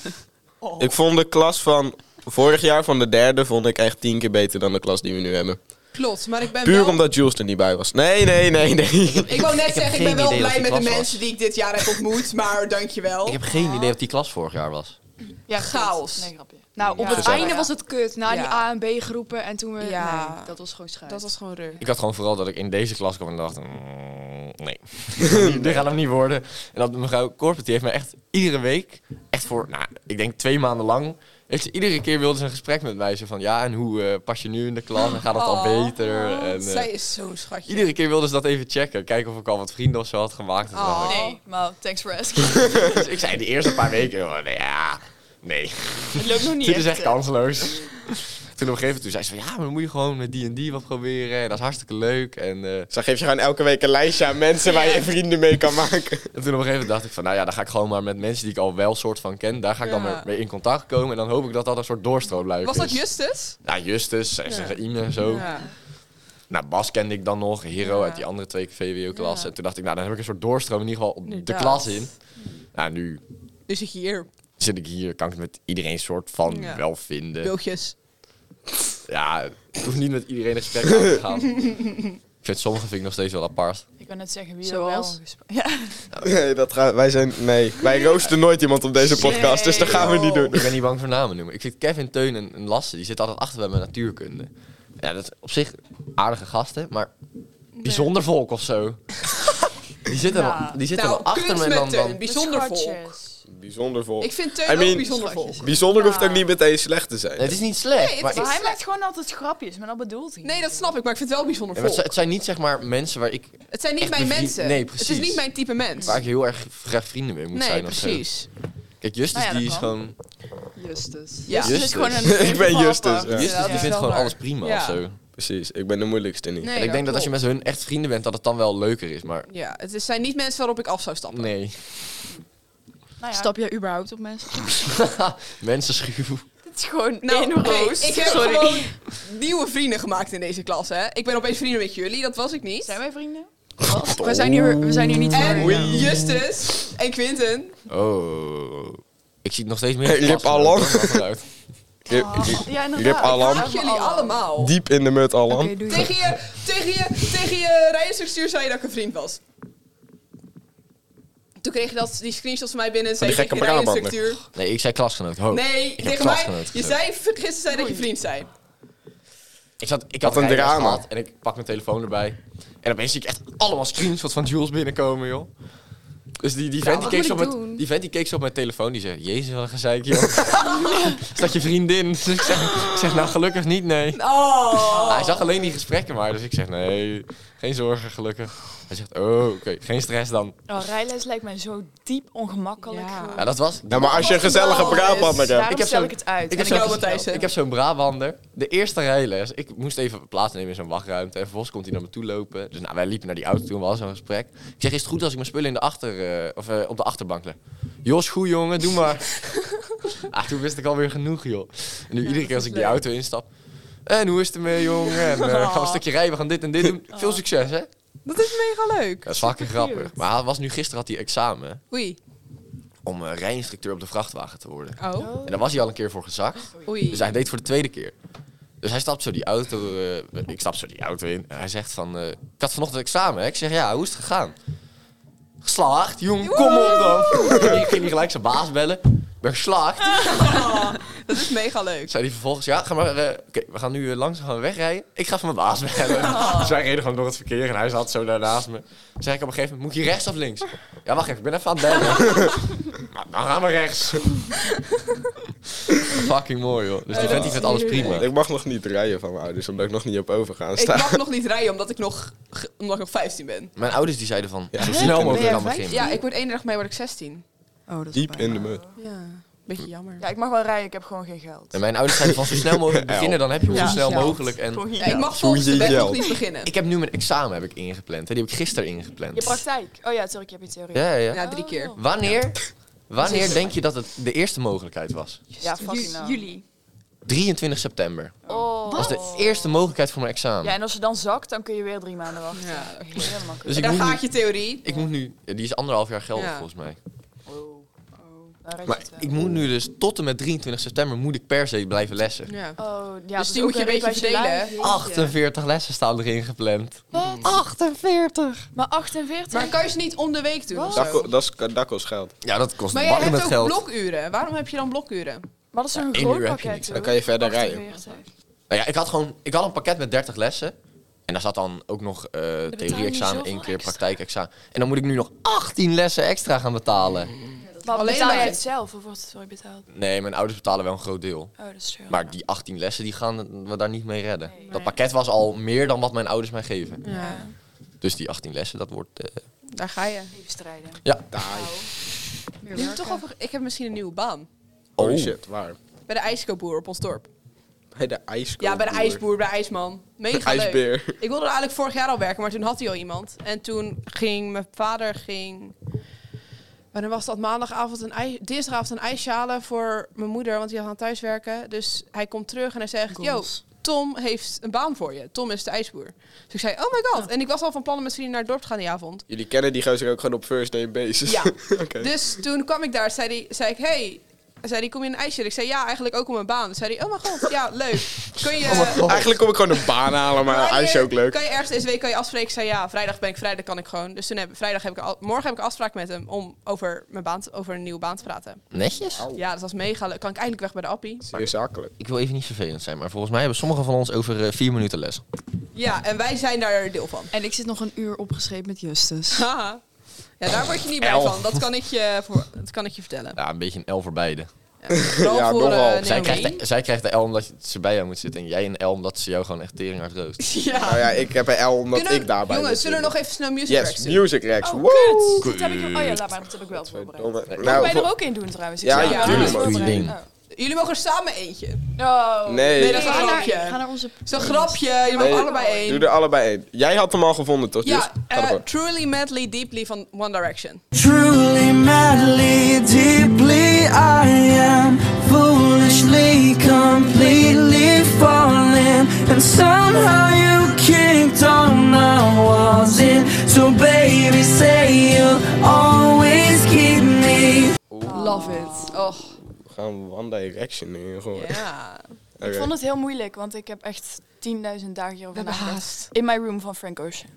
[SPEAKER 2] Ik vond de klas van vorig jaar, van de derde, vond ik echt tien keer beter dan de klas die we nu hebben.
[SPEAKER 1] Klopt, maar ik ben
[SPEAKER 2] Puur
[SPEAKER 1] wel...
[SPEAKER 2] omdat Jules er niet bij was. Nee, nee, nee, nee.
[SPEAKER 1] Ik wou net
[SPEAKER 4] Ik heb
[SPEAKER 1] zeggen, ik ben
[SPEAKER 4] geen
[SPEAKER 1] wel
[SPEAKER 4] idee wat
[SPEAKER 1] blij
[SPEAKER 4] die
[SPEAKER 1] met de
[SPEAKER 4] klas was.
[SPEAKER 1] mensen die ik dit jaar heb ontmoet, maar dankjewel.
[SPEAKER 4] Ik heb geen idee wat die klas vorig jaar was.
[SPEAKER 3] Ja,
[SPEAKER 1] chaos.
[SPEAKER 3] Nee, grapje.
[SPEAKER 5] Nou, op
[SPEAKER 1] Ja.
[SPEAKER 5] het
[SPEAKER 1] Ja.
[SPEAKER 5] einde was het kut. Na die
[SPEAKER 1] Ja.
[SPEAKER 5] A en B groepen en toen we...
[SPEAKER 1] Ja.
[SPEAKER 5] Nee, dat was gewoon schijt.
[SPEAKER 1] Dat was gewoon ruk.
[SPEAKER 4] Ik had gewoon vooral dat ik in deze klas kwam en dacht, mm, nee, dit gaat hem niet worden. En dat mevrouw Korpert, die heeft mij echt iedere week, echt voor, nou, ik denk twee maanden lang, heeft ze iedere keer wilde ze een gesprek met mij. Zo van, ja, en hoe eh, pas je nu in de klas en gaat het al
[SPEAKER 1] Oh.
[SPEAKER 4] beter? En, eh,
[SPEAKER 1] Zij is zo'n schatje.
[SPEAKER 4] Iedere keer wilden ze dat even checken. Kijken of ik al wat vrienden of zo had gemaakt. En zo.
[SPEAKER 1] Oh.
[SPEAKER 3] Nee, maar thanks for asking.
[SPEAKER 4] Dus ik zei de eerste paar weken, oh, nee, ja, nee.
[SPEAKER 3] Het loopt nog niet
[SPEAKER 4] Dit is echt
[SPEAKER 3] hè.
[SPEAKER 1] eh.
[SPEAKER 4] kansloos. Toen op een gegeven moment toen zei ze van, ja, maar dan moet je gewoon met die en die wat proberen. En dat is hartstikke leuk. En, eh,
[SPEAKER 2] Zo geef je gewoon elke week een lijstje aan mensen waar je vrienden mee kan maken.
[SPEAKER 4] en toen op een gegeven moment dacht ik van, nou ja, dan ga ik gewoon maar met mensen die ik al wel soort van ken. Daar ga ik dan
[SPEAKER 1] Ja.
[SPEAKER 4] maar mee in contact komen. En dan hoop ik dat dat een soort doorstroomluik
[SPEAKER 1] Was
[SPEAKER 4] is.
[SPEAKER 1] dat Justus?
[SPEAKER 4] Ja, Justus en
[SPEAKER 1] Ja.
[SPEAKER 4] Serine en zo.
[SPEAKER 1] Ja.
[SPEAKER 4] Nou, Bas kende ik dan nog, Hero
[SPEAKER 1] Ja.
[SPEAKER 4] uit die andere twee VWO-klassen.
[SPEAKER 1] Ja.
[SPEAKER 4] En toen dacht ik, nou, dan heb ik een soort doorstroom in ieder geval op de
[SPEAKER 1] Inderdaad.
[SPEAKER 4] klas in. Nou, nu
[SPEAKER 1] Dus ik hier,
[SPEAKER 4] zit ik hier, kan ik het met iedereen soort van
[SPEAKER 1] Ja.
[SPEAKER 4] wel vinden.
[SPEAKER 1] biltjes.
[SPEAKER 4] Ja, ik hoef niet met iedereen een gesprek aan te gaan. ik vind sommige vind ik nog steeds wel apart.
[SPEAKER 3] Ik kan net zeggen wie
[SPEAKER 5] Zoals?
[SPEAKER 3] er wel een gesprek- Ja.
[SPEAKER 2] Nee, dat gaan, wij zijn... Nee, wij roosten nooit iemand op deze podcast, dus dat gaan we niet doen.
[SPEAKER 4] Ik ben niet bang voor namen noemen. Ik vind Kevin, Teun en, en Lasse, die zitten altijd achter bij mijn natuurkunde. Ja, dat is op zich aardige gasten, maar bijzonder volk of zo. die zitten,
[SPEAKER 3] Nou.
[SPEAKER 4] wel- die zitten
[SPEAKER 1] Nou,
[SPEAKER 4] wel achter me en dan...
[SPEAKER 1] kunstmetten,
[SPEAKER 4] dan
[SPEAKER 1] bijzonder volk.
[SPEAKER 3] Schatjes.
[SPEAKER 2] Bijzonder vol.
[SPEAKER 1] Ik vind Teun
[SPEAKER 2] I mean-
[SPEAKER 1] ook bijzonder volk.
[SPEAKER 2] Bijzonder hoeft ook niet meteen slecht te zijn.
[SPEAKER 4] het is niet slecht,
[SPEAKER 1] Nee, het
[SPEAKER 4] maar
[SPEAKER 1] is
[SPEAKER 4] ik-
[SPEAKER 3] Maar hij
[SPEAKER 1] slecht.
[SPEAKER 3] maakt gewoon altijd grapjes, maar dat bedoelt hij.
[SPEAKER 1] Nee, dat snap ik, maar ik vind het wel bijzonder
[SPEAKER 4] Ja, maar het,
[SPEAKER 1] volk.
[SPEAKER 4] zijn, het zijn niet zeg maar mensen waar ik,
[SPEAKER 1] Het zijn niet
[SPEAKER 4] echt
[SPEAKER 1] mijn
[SPEAKER 4] bevriend-
[SPEAKER 1] mensen.
[SPEAKER 4] Nee,
[SPEAKER 1] Het
[SPEAKER 4] precies.
[SPEAKER 1] is niet mijn type mens.
[SPEAKER 4] waar ik heel erg graag vrienden mee moet
[SPEAKER 1] nee,
[SPEAKER 4] zijn. of zo.
[SPEAKER 1] precies.
[SPEAKER 4] Kijk, Justus
[SPEAKER 3] Nou ja, dat
[SPEAKER 4] die is
[SPEAKER 3] kan.
[SPEAKER 4] gewoon...
[SPEAKER 5] Justus.
[SPEAKER 1] Ja.
[SPEAKER 3] Dus het is
[SPEAKER 4] Justus.
[SPEAKER 3] gewoon een
[SPEAKER 2] Ik ben
[SPEAKER 3] papa.
[SPEAKER 2] Justus, ja.
[SPEAKER 4] Justus
[SPEAKER 1] dat
[SPEAKER 4] die
[SPEAKER 1] is
[SPEAKER 4] vindt
[SPEAKER 1] wel
[SPEAKER 4] gewoon
[SPEAKER 1] waar.
[SPEAKER 4] alles prima
[SPEAKER 1] Ja.
[SPEAKER 4] of zo.
[SPEAKER 2] Precies, ik ben de moeilijkste niet.
[SPEAKER 1] Nee,
[SPEAKER 4] en ik denk dat als je
[SPEAKER 1] klopt.
[SPEAKER 4] met hun echt vrienden bent, dat het dan wel leuker is, maar...
[SPEAKER 1] Ja, het is- zijn niet mensen waarop ik af zou stappen.
[SPEAKER 4] Nee.
[SPEAKER 3] Nou ja,
[SPEAKER 5] Stap jij überhaupt op mensen?
[SPEAKER 4] Mensen schuw.
[SPEAKER 3] Het is gewoon
[SPEAKER 1] Nou,
[SPEAKER 3] één
[SPEAKER 1] oké,
[SPEAKER 3] roos.
[SPEAKER 1] ik heb gewoon nieuwe vrienden gemaakt in deze klas, hè. Ik ben opeens vrienden met jullie, dat was ik niet.
[SPEAKER 3] Zijn wij vrienden?
[SPEAKER 5] We zijn hier, we zijn hier niet
[SPEAKER 1] En
[SPEAKER 5] voor.
[SPEAKER 1] Justus en Quinten.
[SPEAKER 4] Oh. Ik zie het nog steeds meer.
[SPEAKER 2] Hey, Lip
[SPEAKER 4] Passen,
[SPEAKER 2] Allan.
[SPEAKER 4] dat maakt wel uit.
[SPEAKER 2] Oh.
[SPEAKER 3] Ja, inderdaad.
[SPEAKER 2] Rip Alan.
[SPEAKER 1] Dank jullie allemaal.
[SPEAKER 2] Diep in de mut, Alan.
[SPEAKER 5] Oké, doe
[SPEAKER 1] Tegen
[SPEAKER 5] je.
[SPEAKER 1] je, tegen je, tegen je rijenstructuur zei je dat ik een vriend was. Toen kreeg je dat, die screenshots van mij binnen en
[SPEAKER 2] Van
[SPEAKER 1] zei
[SPEAKER 2] die
[SPEAKER 1] tegen je
[SPEAKER 2] gekke Brabander.
[SPEAKER 1] rijenstructuur.
[SPEAKER 4] Nee, Oh, ik zei klasgenoot. Ho.
[SPEAKER 1] Nee,
[SPEAKER 4] heb
[SPEAKER 1] tegen mij.
[SPEAKER 4] klasgenoten
[SPEAKER 1] Je
[SPEAKER 4] gezegd.
[SPEAKER 1] zei gisteren zei dat je vriend zei.
[SPEAKER 4] Ik, zat, ik
[SPEAKER 2] Wat
[SPEAKER 4] had
[SPEAKER 2] een
[SPEAKER 4] een drama.
[SPEAKER 2] drama.
[SPEAKER 4] Gehad en ik pak mijn telefoon erbij. En opeens zie ik echt allemaal screenshots van Jules binnenkomen, joh. Dus die, die, vent, die,
[SPEAKER 5] wat
[SPEAKER 4] keek
[SPEAKER 5] moet
[SPEAKER 4] zo
[SPEAKER 5] ik
[SPEAKER 4] op mijn-
[SPEAKER 5] doen?
[SPEAKER 4] die vent die keek zo op mijn telefoon, die zei... Jezus, wat een gezeik, joh. Is dat je vriendin? Dus ik zeg, ik zeg, nou gelukkig niet, nee.
[SPEAKER 1] Oh.
[SPEAKER 4] Nou, hij zag alleen die gesprekken maar, dus ik zeg, nee, geen zorgen, gelukkig. Hij zegt, oh, oké, geen stress dan.
[SPEAKER 3] Oh, rijles lijkt mij zo diep ongemakkelijk.
[SPEAKER 1] Ja.
[SPEAKER 3] gewoon.
[SPEAKER 4] Ja, dat was...
[SPEAKER 2] Nou, maar als je een gezellige
[SPEAKER 1] Alles.
[SPEAKER 2] braadpannen hebt...
[SPEAKER 3] Daarom
[SPEAKER 4] ik heb
[SPEAKER 3] stel
[SPEAKER 4] zo'n-
[SPEAKER 3] ik het uit.
[SPEAKER 4] ik
[SPEAKER 3] Ik
[SPEAKER 4] heb
[SPEAKER 3] heb
[SPEAKER 1] En jou,
[SPEAKER 4] zo'n-
[SPEAKER 1] Matthijs.
[SPEAKER 4] Ik heb zo'n Brabander. De eerste rijles. Ik moest even plaatsnemen in zo'n wachtruimte. En vervolgens komt hij naar me toe lopen. Dus nou, wij liepen naar die auto toen. We hadden zo'n gesprek. Ik zeg, is het goed als ik mijn spullen in de achter, eh, of, eh, op de achterbank leg? Jos, goed jongen, doe maar. ah, toen wist ik alweer genoeg, joh. En nu iedere keer als ik die auto instap. En hoe is het ermee, jongen? En, eh, gaan we een stukje rijden, we gaan dit en dit doen. Veel succes, hè?
[SPEAKER 1] Oh. Dat is mega leuk.
[SPEAKER 4] Dat is fucking
[SPEAKER 3] Supercute.
[SPEAKER 4] grappig. Maar hij was nu gisteren had hij examen
[SPEAKER 1] Oei.
[SPEAKER 4] om eh, rijinstructeur op de vrachtwagen te worden.
[SPEAKER 1] Oh.
[SPEAKER 4] En daar was hij al een keer voor gezakt.
[SPEAKER 1] Oei.
[SPEAKER 4] Dus hij deed het voor de tweede keer. Dus hij stapt zo die auto, eh, ik stap zo die auto in. En hij zegt van, eh, ik had vanochtend examen. Hè? Ik zeg, ja, hoe is het gegaan? Geslaagd, jong, kom op dan. ik ging niet gelijk zijn baas bellen. Ik ben geslaagd.
[SPEAKER 1] Ah. Dat is mega leuk.
[SPEAKER 4] Zei hij vervolgens, ja, ga maar, eh, oké, we gaan nu eh, langzaam gaan wegrijden. Ik ga van mijn baas bellen.
[SPEAKER 1] Oh.
[SPEAKER 4] Dus wij reden gewoon door het verkeer en hij zat zo daarnaast me. Toen zei ik op een gegeven moment, moet ik hier rechts of links? Ja, wacht even, ik ben even aan het bellen. "Nou, dan gaan we rechts. Fucking mooi, joh. Dus die
[SPEAKER 1] dat
[SPEAKER 4] vent die
[SPEAKER 1] is
[SPEAKER 4] vindt alles
[SPEAKER 1] heerlijk.
[SPEAKER 4] prima.
[SPEAKER 2] Ik mag nog niet rijden van mijn ouders, omdat ik nog niet op overgaan
[SPEAKER 1] Ik
[SPEAKER 2] sta.
[SPEAKER 1] mag nog niet rijden omdat ik nog, ge- omdat ik nog 15 ben.
[SPEAKER 4] Mijn ouders die zeiden van,
[SPEAKER 2] Ja.
[SPEAKER 4] zo
[SPEAKER 5] Hè?
[SPEAKER 4] snel
[SPEAKER 5] Ben
[SPEAKER 4] mogelijk
[SPEAKER 5] jij
[SPEAKER 4] aan
[SPEAKER 5] vijftien?
[SPEAKER 4] beginnen.
[SPEAKER 1] Ja, ik word één dag mee word ik 16.
[SPEAKER 5] Oh, dat is
[SPEAKER 2] Diep
[SPEAKER 5] bijna.
[SPEAKER 2] in de mut.
[SPEAKER 1] Ja. Beetje jammer.
[SPEAKER 3] Ja, ik mag wel rijden, ik heb gewoon geen geld.
[SPEAKER 4] En mijn ouders zeiden van, zo snel mogelijk beginnen, dan heb je hem
[SPEAKER 5] Ja.
[SPEAKER 4] zo snel
[SPEAKER 5] Ja.
[SPEAKER 4] mogelijk. En
[SPEAKER 3] Gewoon geen
[SPEAKER 1] Ja, ik
[SPEAKER 3] geld.
[SPEAKER 1] mag volgens de
[SPEAKER 2] Zoen je
[SPEAKER 1] wet nog
[SPEAKER 2] geld.
[SPEAKER 1] niet beginnen.
[SPEAKER 4] ik heb nu mijn examen heb ik ingepland, hè. die heb ik gisteren ingepland.
[SPEAKER 3] Je praktijk. Oh ja, natuurlijk, je hebt je theorie.
[SPEAKER 4] Ja, ja, ja.
[SPEAKER 1] Ja, drie keer.
[SPEAKER 4] Wanneer, wanneer denk je dat het de eerste mogelijkheid was?
[SPEAKER 3] Ja, fucking nou.
[SPEAKER 5] Juli.
[SPEAKER 4] 23 september.
[SPEAKER 3] Oh.
[SPEAKER 4] Dat was de eerste mogelijkheid voor mijn examen.
[SPEAKER 3] Ja, en als je dan zakt, dan kun je weer drie maanden wachten.
[SPEAKER 1] Ja.
[SPEAKER 3] Helemaal kut.
[SPEAKER 4] Dus
[SPEAKER 1] En
[SPEAKER 4] ik
[SPEAKER 1] daar
[SPEAKER 4] moet,
[SPEAKER 1] gaat je
[SPEAKER 4] nu,
[SPEAKER 1] theorie.
[SPEAKER 4] ik moet nu... Die is anderhalf jaar geldig
[SPEAKER 1] Ja.
[SPEAKER 4] volgens mij.
[SPEAKER 3] Oh. Daar red je
[SPEAKER 4] Maar
[SPEAKER 3] het wel.
[SPEAKER 4] ik moet nu dus tot en met 23 september moet ik per se blijven lessen.
[SPEAKER 1] Ja.
[SPEAKER 3] Oh, ja, dat
[SPEAKER 1] Dus
[SPEAKER 3] is
[SPEAKER 1] die
[SPEAKER 3] ook
[SPEAKER 1] moet je een
[SPEAKER 3] rit
[SPEAKER 1] beetje
[SPEAKER 3] wat
[SPEAKER 1] verdelen.
[SPEAKER 3] lijf-
[SPEAKER 4] 48 lessen staan erin gepland.
[SPEAKER 3] Wat?
[SPEAKER 4] 48!
[SPEAKER 3] Maar 48?
[SPEAKER 1] Maar kan je ze niet om de week doen? of
[SPEAKER 2] Dat,
[SPEAKER 1] zo?
[SPEAKER 2] ko- dat, is- dat kost geld.
[SPEAKER 4] Ja, dat kost
[SPEAKER 1] Maar jij
[SPEAKER 4] bakken
[SPEAKER 1] hebt
[SPEAKER 4] met
[SPEAKER 1] ook
[SPEAKER 4] geld.
[SPEAKER 1] blokuren. Waarom heb je dan blokuren?
[SPEAKER 3] Wat is zo'n
[SPEAKER 4] Ja, één
[SPEAKER 3] groot
[SPEAKER 4] uur heb je
[SPEAKER 3] pakket?
[SPEAKER 4] niks.
[SPEAKER 3] hoor.
[SPEAKER 2] Dan kan je verder rijden.
[SPEAKER 3] 48.
[SPEAKER 4] Nou ja, ik had gewoon... Ik had een pakket met 30 lessen. En daar zat dan ook nog eh,
[SPEAKER 3] niet
[SPEAKER 4] theorie-examen,
[SPEAKER 3] zoveel
[SPEAKER 4] één keer
[SPEAKER 3] extra.
[SPEAKER 4] praktijkexamen. En dan moet ik nu nog 18 lessen extra gaan betalen.
[SPEAKER 3] Maar
[SPEAKER 1] Alleen
[SPEAKER 3] betaal
[SPEAKER 1] maar-
[SPEAKER 3] jij het zelf of wordt het voor je betaald?
[SPEAKER 4] Nee, mijn ouders betalen wel een groot deel.
[SPEAKER 3] Oh, dat is chill.
[SPEAKER 4] Maar die 18 lessen, die gaan we daar niet mee redden.
[SPEAKER 3] Nee.
[SPEAKER 4] Dat pakket was al meer dan wat mijn ouders mij geven.
[SPEAKER 1] Ja.
[SPEAKER 4] Dus die 18 lessen, dat wordt... eh,
[SPEAKER 1] Daar ga je.
[SPEAKER 3] Even strijden.
[SPEAKER 5] Meer
[SPEAKER 1] Nu we
[SPEAKER 5] werken.
[SPEAKER 1] toch over, ik heb misschien een nieuwe baan.
[SPEAKER 2] Oh,
[SPEAKER 4] Oh.
[SPEAKER 2] shit, waar?
[SPEAKER 1] Bij de ijskoopboer op ons dorp.
[SPEAKER 2] Bij de ijskoop.
[SPEAKER 1] Ja, bij de ijsboer, bij de ijsman. Mega leuk.
[SPEAKER 2] IJsbeer.
[SPEAKER 1] Ik wilde er eigenlijk vorig jaar al werken, maar toen had hij al iemand. En toen ging mijn vader ging. Wanneer was dat? Maandagavond een ij, dinsdagavond een ijsje halen voor mijn moeder, want die had aan thuiswerken. Dus hij komt terug en hij zegt: Yo, Tom heeft een baan voor je. Tom is de ijsboer. Dus ik zei: Oh my god. En ik was al van plan om misschien naar het dorp te gaan die avond.
[SPEAKER 2] Jullie kennen die gozer ook gewoon op first name basis.
[SPEAKER 1] Ja.
[SPEAKER 2] Oké.
[SPEAKER 1] Dus toen kwam ik daar, zei, die, zei ik, hey. Zei die, kom je een ijsje? Ik zei, ja, eigenlijk ook om mijn baan. Zei die, oh mijn god, ja, leuk. Kun je,
[SPEAKER 2] Eigenlijk kom ik gewoon een baan halen, maar
[SPEAKER 1] kan je-
[SPEAKER 2] ijs is ook leuk.
[SPEAKER 1] Kan je ergens deze week kan je afspreken? Ik zei, ja, vrijdag ben ik, vrijdag kan ik gewoon. Dus toen heb, vrijdag heb ik, al- morgen heb ik een afspraak met hem om over, mijn baan te- over een nieuwe baan te praten.
[SPEAKER 4] Netjes?
[SPEAKER 2] Oh.
[SPEAKER 1] Ja, dat was mega leuk. Kan ik eindelijk weg bij de appie?
[SPEAKER 2] Zeer zakelijk.
[SPEAKER 4] Ik wil even niet vervelend zijn, maar volgens mij hebben sommigen van ons over eh, vier minuten les.
[SPEAKER 1] Ja, en wij zijn daar deel van.
[SPEAKER 5] En ik zit nog een uur opgeschreven met Justus.
[SPEAKER 1] Haha. Ja, daar word je niet bij
[SPEAKER 4] Elf.
[SPEAKER 1] van. Dat kan ik je, voor, dat kan ik je vertellen.
[SPEAKER 4] Ja, een beetje een L voor beide.
[SPEAKER 1] Vooral
[SPEAKER 2] Ja,
[SPEAKER 1] voor, eh,
[SPEAKER 2] nogal.
[SPEAKER 1] Naomi.
[SPEAKER 4] Zij krijgt, de, zij krijgt de L omdat je- ze bij jou moet zitten en jij een L omdat ze jou gewoon echt tering hard roost.
[SPEAKER 1] Ja.
[SPEAKER 2] Nou ja, ik heb een L omdat
[SPEAKER 1] Kunnen we-
[SPEAKER 2] ik daarbij
[SPEAKER 1] Jongens,
[SPEAKER 2] moet
[SPEAKER 1] zullen we nog
[SPEAKER 2] zitten.
[SPEAKER 1] even snel music
[SPEAKER 2] Yes,
[SPEAKER 1] Racks doen?
[SPEAKER 2] music racks.
[SPEAKER 3] Oh,
[SPEAKER 2] Wow.
[SPEAKER 3] kut. Dat heb ik, oh ja, laat maar, dat heb ik wel voorbereid.
[SPEAKER 2] Verdomme.
[SPEAKER 3] Mag
[SPEAKER 2] Nou,
[SPEAKER 3] wij er
[SPEAKER 2] voor-
[SPEAKER 3] ook in doen trouwens? Ik
[SPEAKER 2] Ja,
[SPEAKER 3] zei,
[SPEAKER 2] ja,
[SPEAKER 3] dat is
[SPEAKER 4] tuurlijk.
[SPEAKER 3] voorbereid.
[SPEAKER 4] Doe je
[SPEAKER 1] Jullie mogen er samen eentje.
[SPEAKER 3] Oh. Oh.
[SPEAKER 2] Nee.
[SPEAKER 1] Nee, dat is
[SPEAKER 5] Ga
[SPEAKER 1] een
[SPEAKER 5] naar,
[SPEAKER 1] grapje.
[SPEAKER 5] ga naar onze...
[SPEAKER 1] Zo'n grapje, je mag
[SPEAKER 2] Nee,
[SPEAKER 1] allebei één.
[SPEAKER 2] doe er allebei één. Jij had hem al gevonden, toch? Jus?
[SPEAKER 1] ja,
[SPEAKER 2] Ga
[SPEAKER 1] eh,
[SPEAKER 2] ervoor.
[SPEAKER 1] Truly Madly Deeply van One Direction.
[SPEAKER 6] Truly, madly, deeply, I am foolishly, completely falling. And somehow you kicked on my walls in. So, baby, say you'll always keep me.
[SPEAKER 5] Love it.
[SPEAKER 1] Och,
[SPEAKER 2] We gaan One Direction nu gewoon.
[SPEAKER 1] ja.
[SPEAKER 2] Oké.
[SPEAKER 3] Ik vond het heel moeilijk, want ik heb echt 10.000 dagen hierover
[SPEAKER 1] hebben
[SPEAKER 3] nagedacht.
[SPEAKER 1] haast.
[SPEAKER 3] In My Room van Frank Ocean.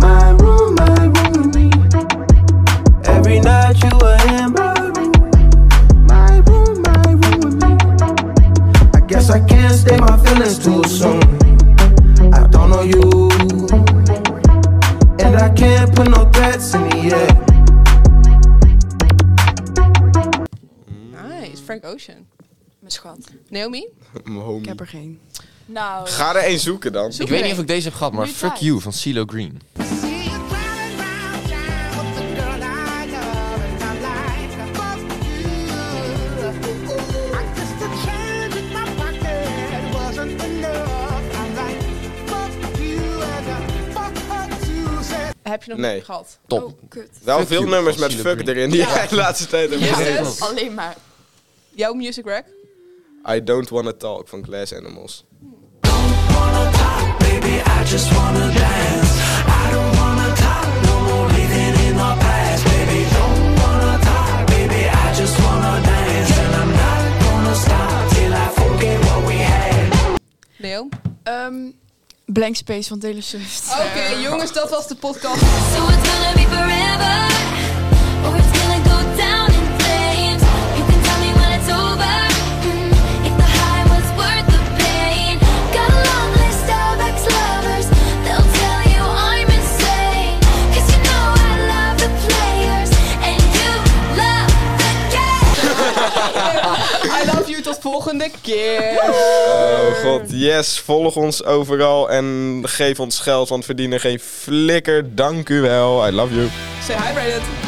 [SPEAKER 6] My room, my room. Every night you were in my room. My room, my room with me. I guess I can't stay my feelings too soon. I don't know you. And I can't put no threats in the air.
[SPEAKER 1] Nice, Frank Ocean.
[SPEAKER 3] Mijn schat.
[SPEAKER 1] Naomi?
[SPEAKER 2] Mijn homie.
[SPEAKER 5] Ik heb er geen.
[SPEAKER 3] Nou,
[SPEAKER 2] Ga er één zoeken dan.
[SPEAKER 1] Zoek
[SPEAKER 4] Ik weet
[SPEAKER 1] er
[SPEAKER 4] niet of
[SPEAKER 1] een.
[SPEAKER 4] ik deze heb gehad, maar
[SPEAKER 3] Nu
[SPEAKER 4] Fuck
[SPEAKER 3] tijd.
[SPEAKER 4] You van CeeLo Green.
[SPEAKER 7] See you driving round town with the girl I love and my life above you. I just a change in my pocket wasn't enough. I'm like, fuck you and I fuck her too. Said
[SPEAKER 1] Heb je nog
[SPEAKER 2] Nee.
[SPEAKER 1] niet gehad?
[SPEAKER 4] Top.
[SPEAKER 5] Oh, kut.
[SPEAKER 2] Wel
[SPEAKER 4] Fuck
[SPEAKER 2] veel
[SPEAKER 4] you,
[SPEAKER 2] nummers
[SPEAKER 4] van
[SPEAKER 2] met
[SPEAKER 4] CeeLo
[SPEAKER 2] fuck
[SPEAKER 4] Green.
[SPEAKER 2] erin die jij de laatste tijd hebt
[SPEAKER 1] Ja.
[SPEAKER 2] gegeven.
[SPEAKER 1] Yes.
[SPEAKER 3] alleen maar.
[SPEAKER 1] Jouw music rack?
[SPEAKER 2] I Don't Wanna Talk van Glass Animals.
[SPEAKER 1] Neo? Oké,
[SPEAKER 5] Ehm, Blank Space van Taylor Swift.
[SPEAKER 1] jongens, dat was de podcast.
[SPEAKER 8] So it's gonna be forever, or it's gonna go down in flames. You can tell me when it's over, mm, if the high was worth the pain. Got a long list of ex-lovers, they'll tell you I'm insane. 'Cause you know I love the players, and you love the game.
[SPEAKER 1] I love you, tot volgende keer.
[SPEAKER 2] Oh god, yes. Volg ons overal en geef ons geld, want we verdienen geen flikker. Dank u wel. I love you.
[SPEAKER 1] Say hi, Reddit.